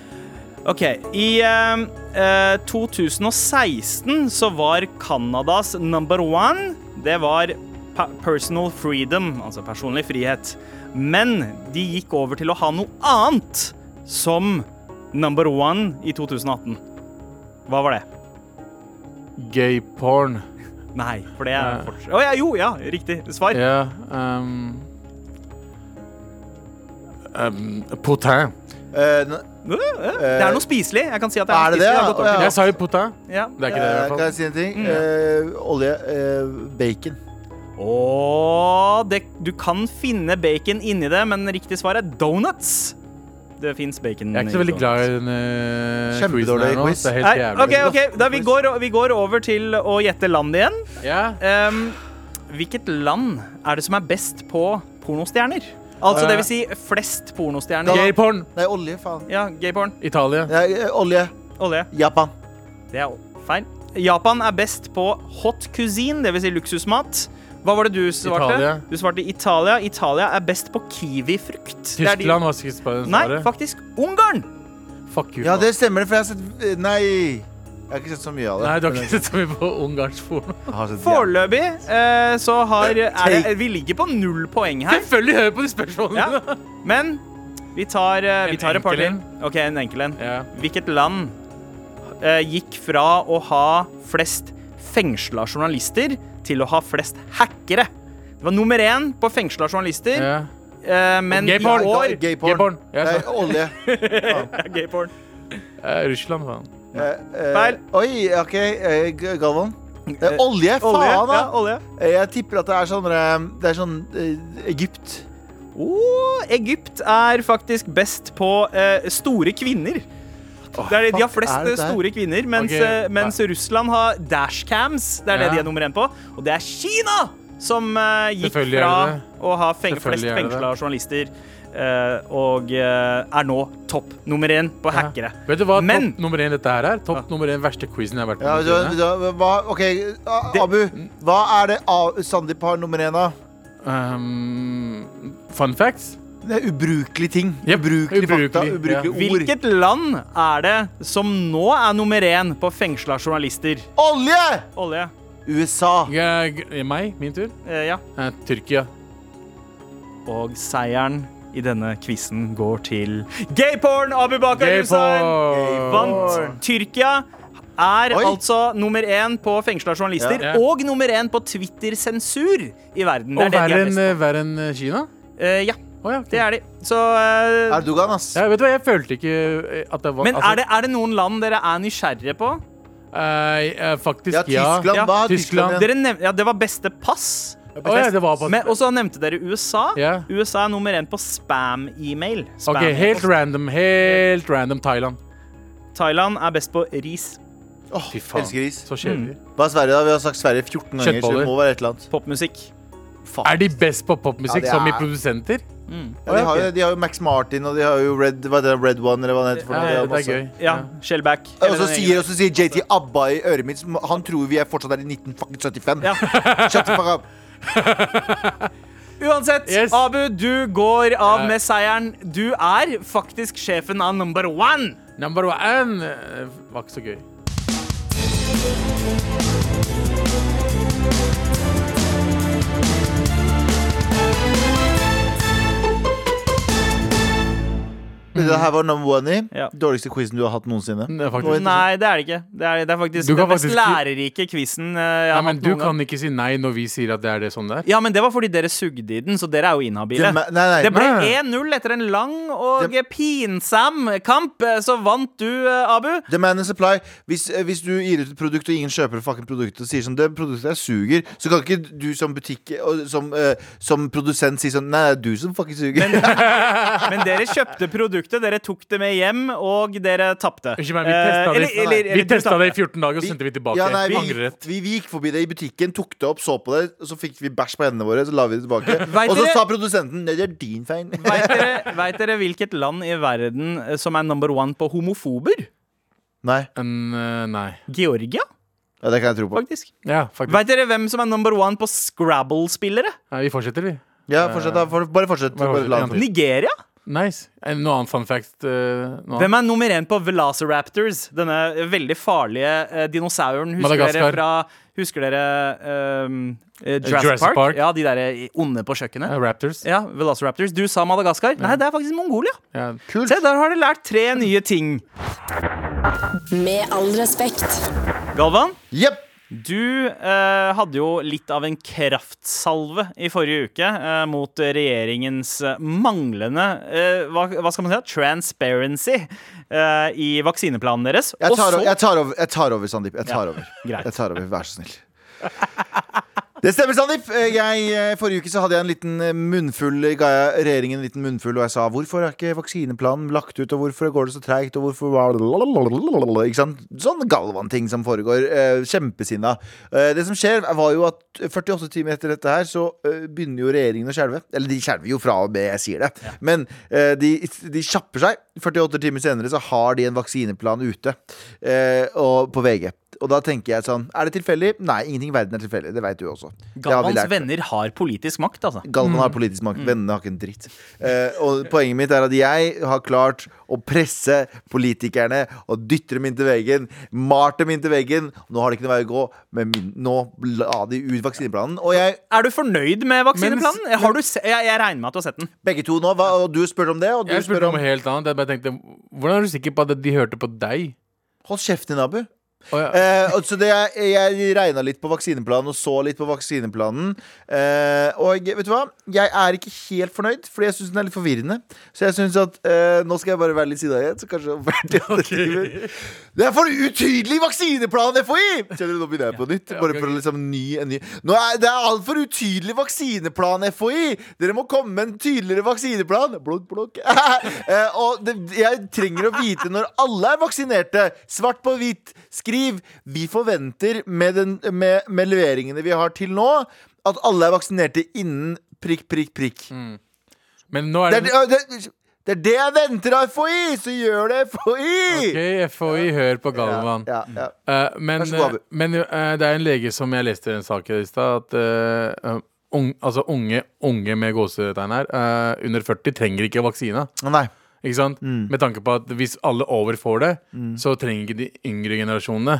S3: Ok, i ehm, eh, 2016 så var Kanadas number one Det var pa personal freedom, altså personlig frihet Men de gikk over til å ha noe annet som number one i 2018 Hva var det?
S4: Gayporn.
S3: Nei, for det er
S4: Eh.
S3: fortsatt Å ja, jo, ja, riktig svar
S4: Ja um, um, Potin.
S2: Eh, nå-
S3: Det er noe spiselig, jeg kan si at det
S2: Er
S3: er,
S2: det
S3: noe
S2: det?
S3: spiselig har gått over
S2: Ja.
S3: til
S4: Jeg sa jo potin.
S3: det. Ja.
S4: Det er ikke det, i
S2: eh, kan
S4: hvert fall.
S2: jeg si en
S3: Mm.
S2: ting? Eh, olje. eh, bacon.
S3: Åh, det, du kan finne bacon inni det, men riktig svar er donuts. Det fins bacon
S4: Jeg er ikke så veldig glad i denne quizen
S2: Kjempedårlig
S4: her nå.
S2: quiz.
S4: Det er helt
S3: Nei,
S4: jævlig.
S3: ok, ok, da vi går, vi går over til å gjette land igjen.
S4: Ja.
S3: Ehm, hvilket land er det som er best på pornostjerner? Altså det vil si flest pornostjerner.
S4: Gayporn.
S2: Nei, olje, faen.
S3: Ja, gayporn.
S4: Italia.
S2: Nei, eh, olje.
S3: Olje.
S2: Japan.
S3: Det er feil. Japan er best på hot cuisine, det vil si luksusmat. Hva var det du svarte?
S4: Italia.
S3: Du svarte Italia. Italia er best på kiwifrukt. Det er de-
S4: Tyskland var sikkert svaret.
S3: Nei, faktisk Ungarn!
S4: Fuck you.
S2: Ja,
S4: faen.
S2: det stemmer, det, for jeg har sett eh, Nei. Jeg har ikke sett så mye av det.
S4: Nei, du har ikke sett så mye på ungarsk porno.
S2: Jeg har sett-
S3: Foreløpig eh, så har er det, Vi ligger på null poeng her.
S4: Selvfølgelig hører jeg på de spørsmålene.
S3: Ja. Men vi tar, eh, vi
S4: En
S3: tar et par til.
S4: enkel
S3: OK, en enkel en.
S4: Ja.
S3: Hvilket land eh, gikk fra å ha flest fengsla journalister til å ha flest hackere? Det var nummer én på fengsla journalister,
S4: Ja.
S3: eh, men i
S4: Gayporn.
S3: år
S2: Gay porn.
S4: Gay porn. Ja,
S2: Nei,
S4: sant.
S2: olje.
S3: Gayporn.
S4: Eh, Russland, faen.
S2: Eh, eh,
S3: Feil.
S2: Oi, OK. eh, G- Galvan. Eh, olje, faen,
S3: Olje.
S2: da!
S3: Ja, olje.
S2: Eh, Jeg tipper at det er sånn eh, Det er sånn eh, Egypt.
S3: Oh, Egypt er faktisk best på eh, store kvinner. Det er, det- de har
S2: fuck,
S3: flest eh,
S2: er det der?
S3: store kvinner, mens,
S4: Ok,
S3: eh, mens Russland har dashcams. Det er det
S4: Ja.
S3: de er nummer én på. Og det er Kina som eh, gikk
S4: Selvfølgelig er
S3: fra
S4: det
S3: å ha feng flest
S4: Selvfølgelig er det
S3: fengsla journalister eh, og eh, er nå topp nummer én på hackere.
S4: Vet du hva
S3: Men-
S4: topp nummer én dette her er? Topp nummer én verste quizen jeg har vært
S2: Ja,
S4: med
S2: du,
S4: på.
S2: du, hva, OK, A-
S3: Det-
S2: Abu. Hva er det A- Sandeep har nummer én av?
S4: Um, fun facts?
S2: Det er ubrukelige ting.
S4: Jep,
S2: Ubrukelige fakta.
S4: ubrukelig,
S2: Ubrukelige ord.
S3: Hvilket land er det som nå er nummer én på fengsla journalister?
S2: Olje!
S3: Olje.
S2: USA.
S4: G- g- Meg? Min tur?
S3: Eh, ja.
S4: Eh, Tyrkia.
S3: Og seieren i denne quizen går til Gayporn Abubakar Hussein!
S4: Gayporn!
S3: Vant Tyrkia. er
S2: Oi.
S3: altså nummer én på fengsla journalister
S4: Ja.
S3: og nummer én på Twitter-sensur i verden. Det
S4: Og
S3: er det de
S4: verre
S3: er
S4: enn
S3: best.
S4: verre enn Kina?
S3: Eh, ja,
S4: Å ja. ok.
S3: det er de. Så eh,
S2: Erdogan, ass.
S4: Ja, vet du hva, jeg følte ikke eh, at det var
S3: Men
S4: altså,
S3: er det, er det noen land dere er nysgjerrige på?
S4: eh, eh, Faktisk,
S2: Ja,
S4: ja.
S2: Tyskland.
S3: Ja,
S2: Hva er
S4: Tyskland.
S2: Tyskland? igjen?
S3: Dere nev ja, det var beste pass.
S4: Å ja, det var på
S3: Men, og så nevnte dere USA.
S4: Ja.
S3: USA er nummer én på spam-email. Spam
S4: OK, helt random. Helt random Thailand.
S3: Thailand er best på ris.
S2: Åh,
S4: Fy faen.
S2: Elsker is.
S4: Så
S3: Mm.
S4: kjedelig.
S2: Hva er Sverige, da? Vi har sagt Sverige 14 ganger. Så
S4: Kjøttboller.
S2: det må være et eller annet.
S3: Popmusikk.
S4: Er de best på popmusikk
S2: Ja, det
S4: som i
S2: er-
S4: produsenter?
S2: Ja, de, har jo, de har jo Max Martin, og de har jo Red, hva er det, Red One, eller hva det heter. for
S4: Ja,
S2: noe.
S4: det,
S2: har
S4: det er
S2: masse.
S4: gøy.
S3: Ja, Shellback.
S2: Og så sier, og så sier JT ABBA i øret mitt. som- Han tror vi er fortsatt er i 1975.
S3: Ja.
S2: Shut the fuck up.
S3: Uansett,
S4: Yes.
S3: Abu, du går av
S4: Ja.
S3: med seieren. Du er faktisk sjefen av number one.
S4: Number one eh, var ikke så gøy.
S2: Det her var number one i.
S3: Ja.
S2: Dårligste quizen du har hatt noensinne.
S4: Nei, faktisk.
S2: Nå er det-
S3: Nei, det er det ikke. Det er, det er faktisk
S4: Du
S3: den
S4: kan
S3: mest
S4: faktisk-
S3: lærerike quizen eh, jeg
S4: Nei,
S3: har
S4: men
S3: hatt
S4: Du
S3: noen gang.
S4: kan ikke si nei når vi sier at det er det sånn det er.
S3: Ja, men det var fordi dere sugde i den, så dere er jo inhabile.
S2: Det- nei, nei,
S3: det ble
S4: nei.
S3: 1-0 etter en lang og pinsam kamp. Så vant du, eh, Abu.
S2: Demand and supply. Hvis, eh, hvis du gir ut et produkt, og ingen kjøper fucking produktet, og sier sånn Det produktet her suger, så kan ikke du som butikk og som, eh, som produsent si sånn Nei, det er du som fucking suger.
S3: Men dere kjøpte produktet, dere tok det med hjem, og dere tapte.
S4: Unnskyld meg, vi
S3: Eh,
S4: testa det.
S3: eller- eller-
S4: vi
S3: eller du
S4: testa
S3: tapte.
S4: det i 14 dager, og så sendte vi tilbake.
S2: Ja, nei, vi,
S4: Angrerett.
S2: vi, vi gikk forbi det i butikken, tok det opp, så på det, og så fikk vi bæsj på hendene våre, så la vi det tilbake.
S3: Vet
S2: og så
S3: dere-
S2: sa produsenten Nei, det er din feil.
S3: Vet dere, vet dere hvilket land i verden eh, som er number one på homofober?
S2: Nei,
S4: En, eh, nei.
S3: Georgia,
S2: ja, det kan jeg tro på.
S3: faktisk.
S4: Ja, faktisk.
S3: Vet dere hvem som er number one på Scrabble-spillere?
S4: Nei, vi fortsetter, vi.
S2: Ja, fortsett, da. For, bare fortsett.
S4: Bare
S2: Bare
S4: fortsett,
S2: la
S4: ja.
S2: den fly.
S3: Nigeria?
S4: Nice. Eh, Noe annet fun fact? eh, noe annet.
S3: Hvem er nummer én på Velociraptors? Denne veldig farlige eh, dinosauren. Husker
S4: Madagaskar.
S3: dere fra Husker dere ehm, eh, Jurassic,
S4: Jurassic
S3: Park?
S4: Park.
S3: Ja, de der eh, onde på
S4: Eh,
S3: kjøkkenet.
S4: Raptors.
S3: Ja, Velociraptors. Du sa Madagaskar. Nei, det er faktisk Mongolia.
S4: Ja.
S2: Kult.
S3: Se, der har dere lært tre nye ting.
S1: Med all respekt.
S3: Galvan,
S2: Jepp.
S3: du eh, hadde jo litt av en kraftsalve i forrige uke eh, mot regjeringens eh, manglende eh, hva, hva skal man si? Transparency eh, i vaksineplanen deres.
S2: Jeg,
S3: Og
S2: tar
S3: så-
S2: o- jeg, tar over- jeg tar over, Sandeep. Jeg tar over.
S3: greit.
S2: Jeg tar over, Vær så snill. Det stemmer, Sandeep. Eh, Jeg, eh, forrige uke så hadde jeg en liten eh, munnfull eh, ga jeg regjeringen en liten munnfull, og jeg sa hvorfor er ikke vaksineplanen lagt ut, og hvorfor går det så treigt, og hvorfor var- Ikke sant? Sånn Galvan-ting som foregår. eh, Kjempesinna. Eh, Det som skjer, var jo at 48 timer etter dette her, så eh, begynner jo regjeringen å skjelve. Eller de skjelver jo fra og med jeg sier det, men eh, de, de kjapper seg. 48 timer senere så har de en vaksineplan ute eh, og, på VG. Og da tenker jeg sånn Er det tilfeldig? Nei, ingenting i verden er tilfeldig. Det veit du også. Det har vi
S3: Galvans
S2: lært.
S3: venner har politisk makt, altså.
S2: Galvan
S4: Mm.
S2: har politisk makt. Vennene har ikke en dritt. Eh, og poenget mitt er at jeg har klart å presse politikerne og dytte dem inn til veggen. Malt dem inn til veggen. Nå har det ikke noe vei å gå, men min, nå la de ut vaksineplanen. Og jeg,
S3: Er du fornøyd med vaksineplanen? Eh,
S4: Men-
S3: har du se jeg, jeg regner med at du har sett den.
S2: begge to nå, hva, og du spurte om det, og du
S4: Jeg
S2: spør
S4: spurte
S2: om
S4: om noe helt annet. Jeg bare tenkte, Hvordan er du sikker på at de hørte på deg?
S2: Hold kjeften din, Abu.
S4: Å, ja.
S2: Eh, og så det, jeg jeg regna litt på vaksineplanen og så litt på vaksineplanen. Eh, og vet du hva? Jeg er ikke helt fornøyd, fordi jeg syns den er litt forvirrende. Så jeg synes at eh, nå skal jeg bare være litt sideagent, så kanskje om 40 andre timer. Det er for utydelig vaksineplan, FHI! Skjønner du, Nå begynner jeg på nytt. Bare for å liksom ny en ny Nå er Det er altfor utydelig vaksineplan, FHI! Dere må komme med en tydeligere vaksineplan! Blokk, blokk. Eh, og det, jeg trenger å vite når alle er vaksinerte. Svart på hvitt. Skriv 'Vi forventer med, den, med, med leveringene vi har til nå, at alle er vaksinerte innen prikk, prikk, prikk'.
S4: Men nå
S2: Det,
S4: er
S2: er,
S4: det
S2: det, det, det er det jeg venter av FHI! Så gjør det, FHI!
S4: OK, FHI, hør på Galvan.
S2: Ja, ja.
S4: Eh, men
S2: Vær så god,
S4: eh,
S2: Abu.
S4: men eh, det er en lege som jeg leste en sak i stad, at eh, eh, ung, altså unge, unge med gåsetegn her, eh, under 40 trenger ikke vaksine.
S2: Nei.
S4: Ikke sant?
S2: Mm.
S4: Med tanke på at hvis alle over får det, så trenger ikke de yngre generasjonene.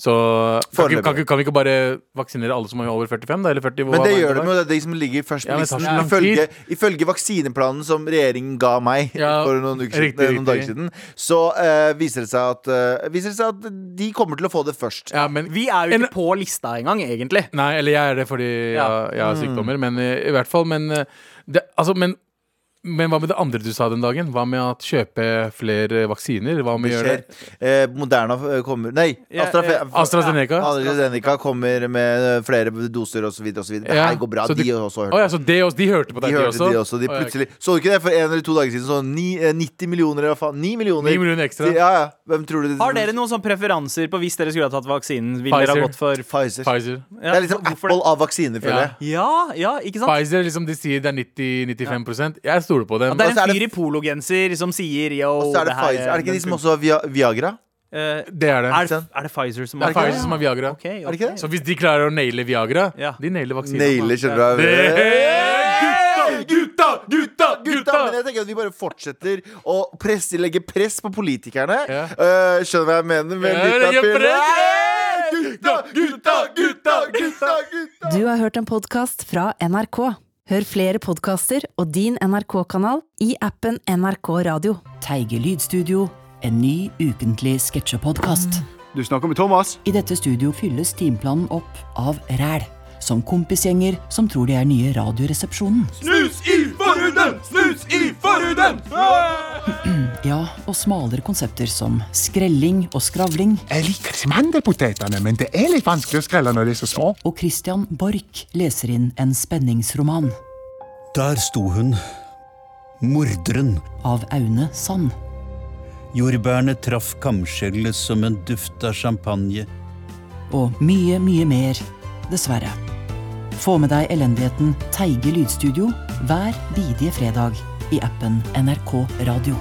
S4: Så kan, ikke,
S2: Foreløpig.
S4: kan, ikke- kan vi ikke bare vaksinere alle som er over 45, da? Eller 40?
S2: Men
S4: hva-
S2: det
S4: hva
S2: gjør
S4: var?
S2: de jo. Det er de som ligger først på
S4: Ja, men det tar
S2: listen.
S4: så lang
S2: Ifølge,
S4: tid.
S2: ifølge vaksineplanen som regjeringen ga meg
S4: Ja,
S2: for noen, uker,
S4: riktig,
S2: siden- noen dager
S4: riktig.
S2: siden, så eh, viser, det seg at, eh, viser det seg at de kommer til å få det først.
S4: Ja, men
S3: Vi er jo
S4: En-
S3: ikke på lista engang, egentlig.
S4: Nei, eller jeg er det fordi
S3: Ja.
S4: jeg, jeg har sykdommer, men eh, i hvert fall. Men, eh, det, altså, men, men hva med det andre du sa den dagen? Hva med at kjøpe flere vaksiner? Hva med å gjøre det?
S2: Eh, Moderna eh, kommer Nei,
S3: Ja,
S2: AstraZe-
S3: eh,
S4: AstraZeneca?
S2: AstraZeneca kommer med eh, flere doser osv. Det
S4: Ja,
S2: her går bra.
S4: så
S2: De har også hørt
S4: Å ja, så det også, de hørte på
S2: De
S4: deg,
S2: hørte
S4: også?
S2: de også. De
S4: Å, ja,
S2: plutselig, så du ikke det for en eller to dager siden? Så ni, eh, 90 millioner, eller hva faen? 9 millioner.
S4: 9 millioner ekstra.
S2: Ja, ja. Hvem tror du det
S3: Har dere noen sånne preferanser på hvis dere skulle ha tatt vaksinen? Ville dere ha
S4: Pfizer.
S3: gått for
S2: Pfizer.
S4: Pfizer.
S3: Ja,
S2: Det er liksom
S3: hvorfor det?
S2: Apple av vaksiner, føler
S4: Ja.
S2: jeg.
S3: Ja, ja, ikke sant?
S4: Pfizer, liksom de sier det er 90-95 Jeg stoler på
S3: Ja,
S4: dem.
S3: det
S2: Og så er
S3: er en
S2: det-
S3: fyr i pologenser som sier yo,
S2: Og så er det Pfizer. Er det ikke de som også har Via Viagra?
S3: Eh,
S4: Det er det.
S3: er,
S2: sant?
S3: er det Pfizer som
S4: Det
S3: har
S4: er Pfizer som har Viagra.
S3: Ok, ok.
S2: Er det ikke det?
S4: Så hvis de klarer å naile Viagra,
S3: Ja.
S4: de nailer vaksinen.
S2: Nailer, skjønner du.
S4: Hey! Gutta, gutta,
S2: Gutta,
S4: gutta!
S2: men jeg tenker at vi bare fortsetter å presse, legge press på politikerne.
S4: Ja.
S2: Eh, skjønner du hva jeg mener? Med
S4: Ja,
S2: litt av
S4: legge
S2: pille?
S4: press!
S2: Hey, Gutta, gutta, gutta, gutta, gutta!
S6: Du har hørt en podkast fra NRK. Hør flere podkaster og din NRK-kanal i appen NRK Radio.
S7: Teige Lydstudio, en ny ukentlig sketsjepodkast.
S8: Du snakker med Thomas.
S7: I dette studio fylles timeplanen opp av ræl. Som kompisgjenger som tror de er nye Radioresepsjonen.
S4: Snus i forhuden! Snus i forhuden!
S7: Ja, og smalere konsepter som skrelling og skravling.
S9: Jeg liker mandelpotetene, men det er litt vanskelig å skrelle når de er så små.
S7: Og Christian Borch leser inn en spenningsroman
S10: Der sto hun, morderen.
S7: av Aune Sand.
S10: Jordbærene traff kamskjellet som en duft av champagne.
S7: Og mye, mye mer, dessverre. Få med deg elendigheten Teige Lydstudio hver bidige fredag i appen NRK Radio.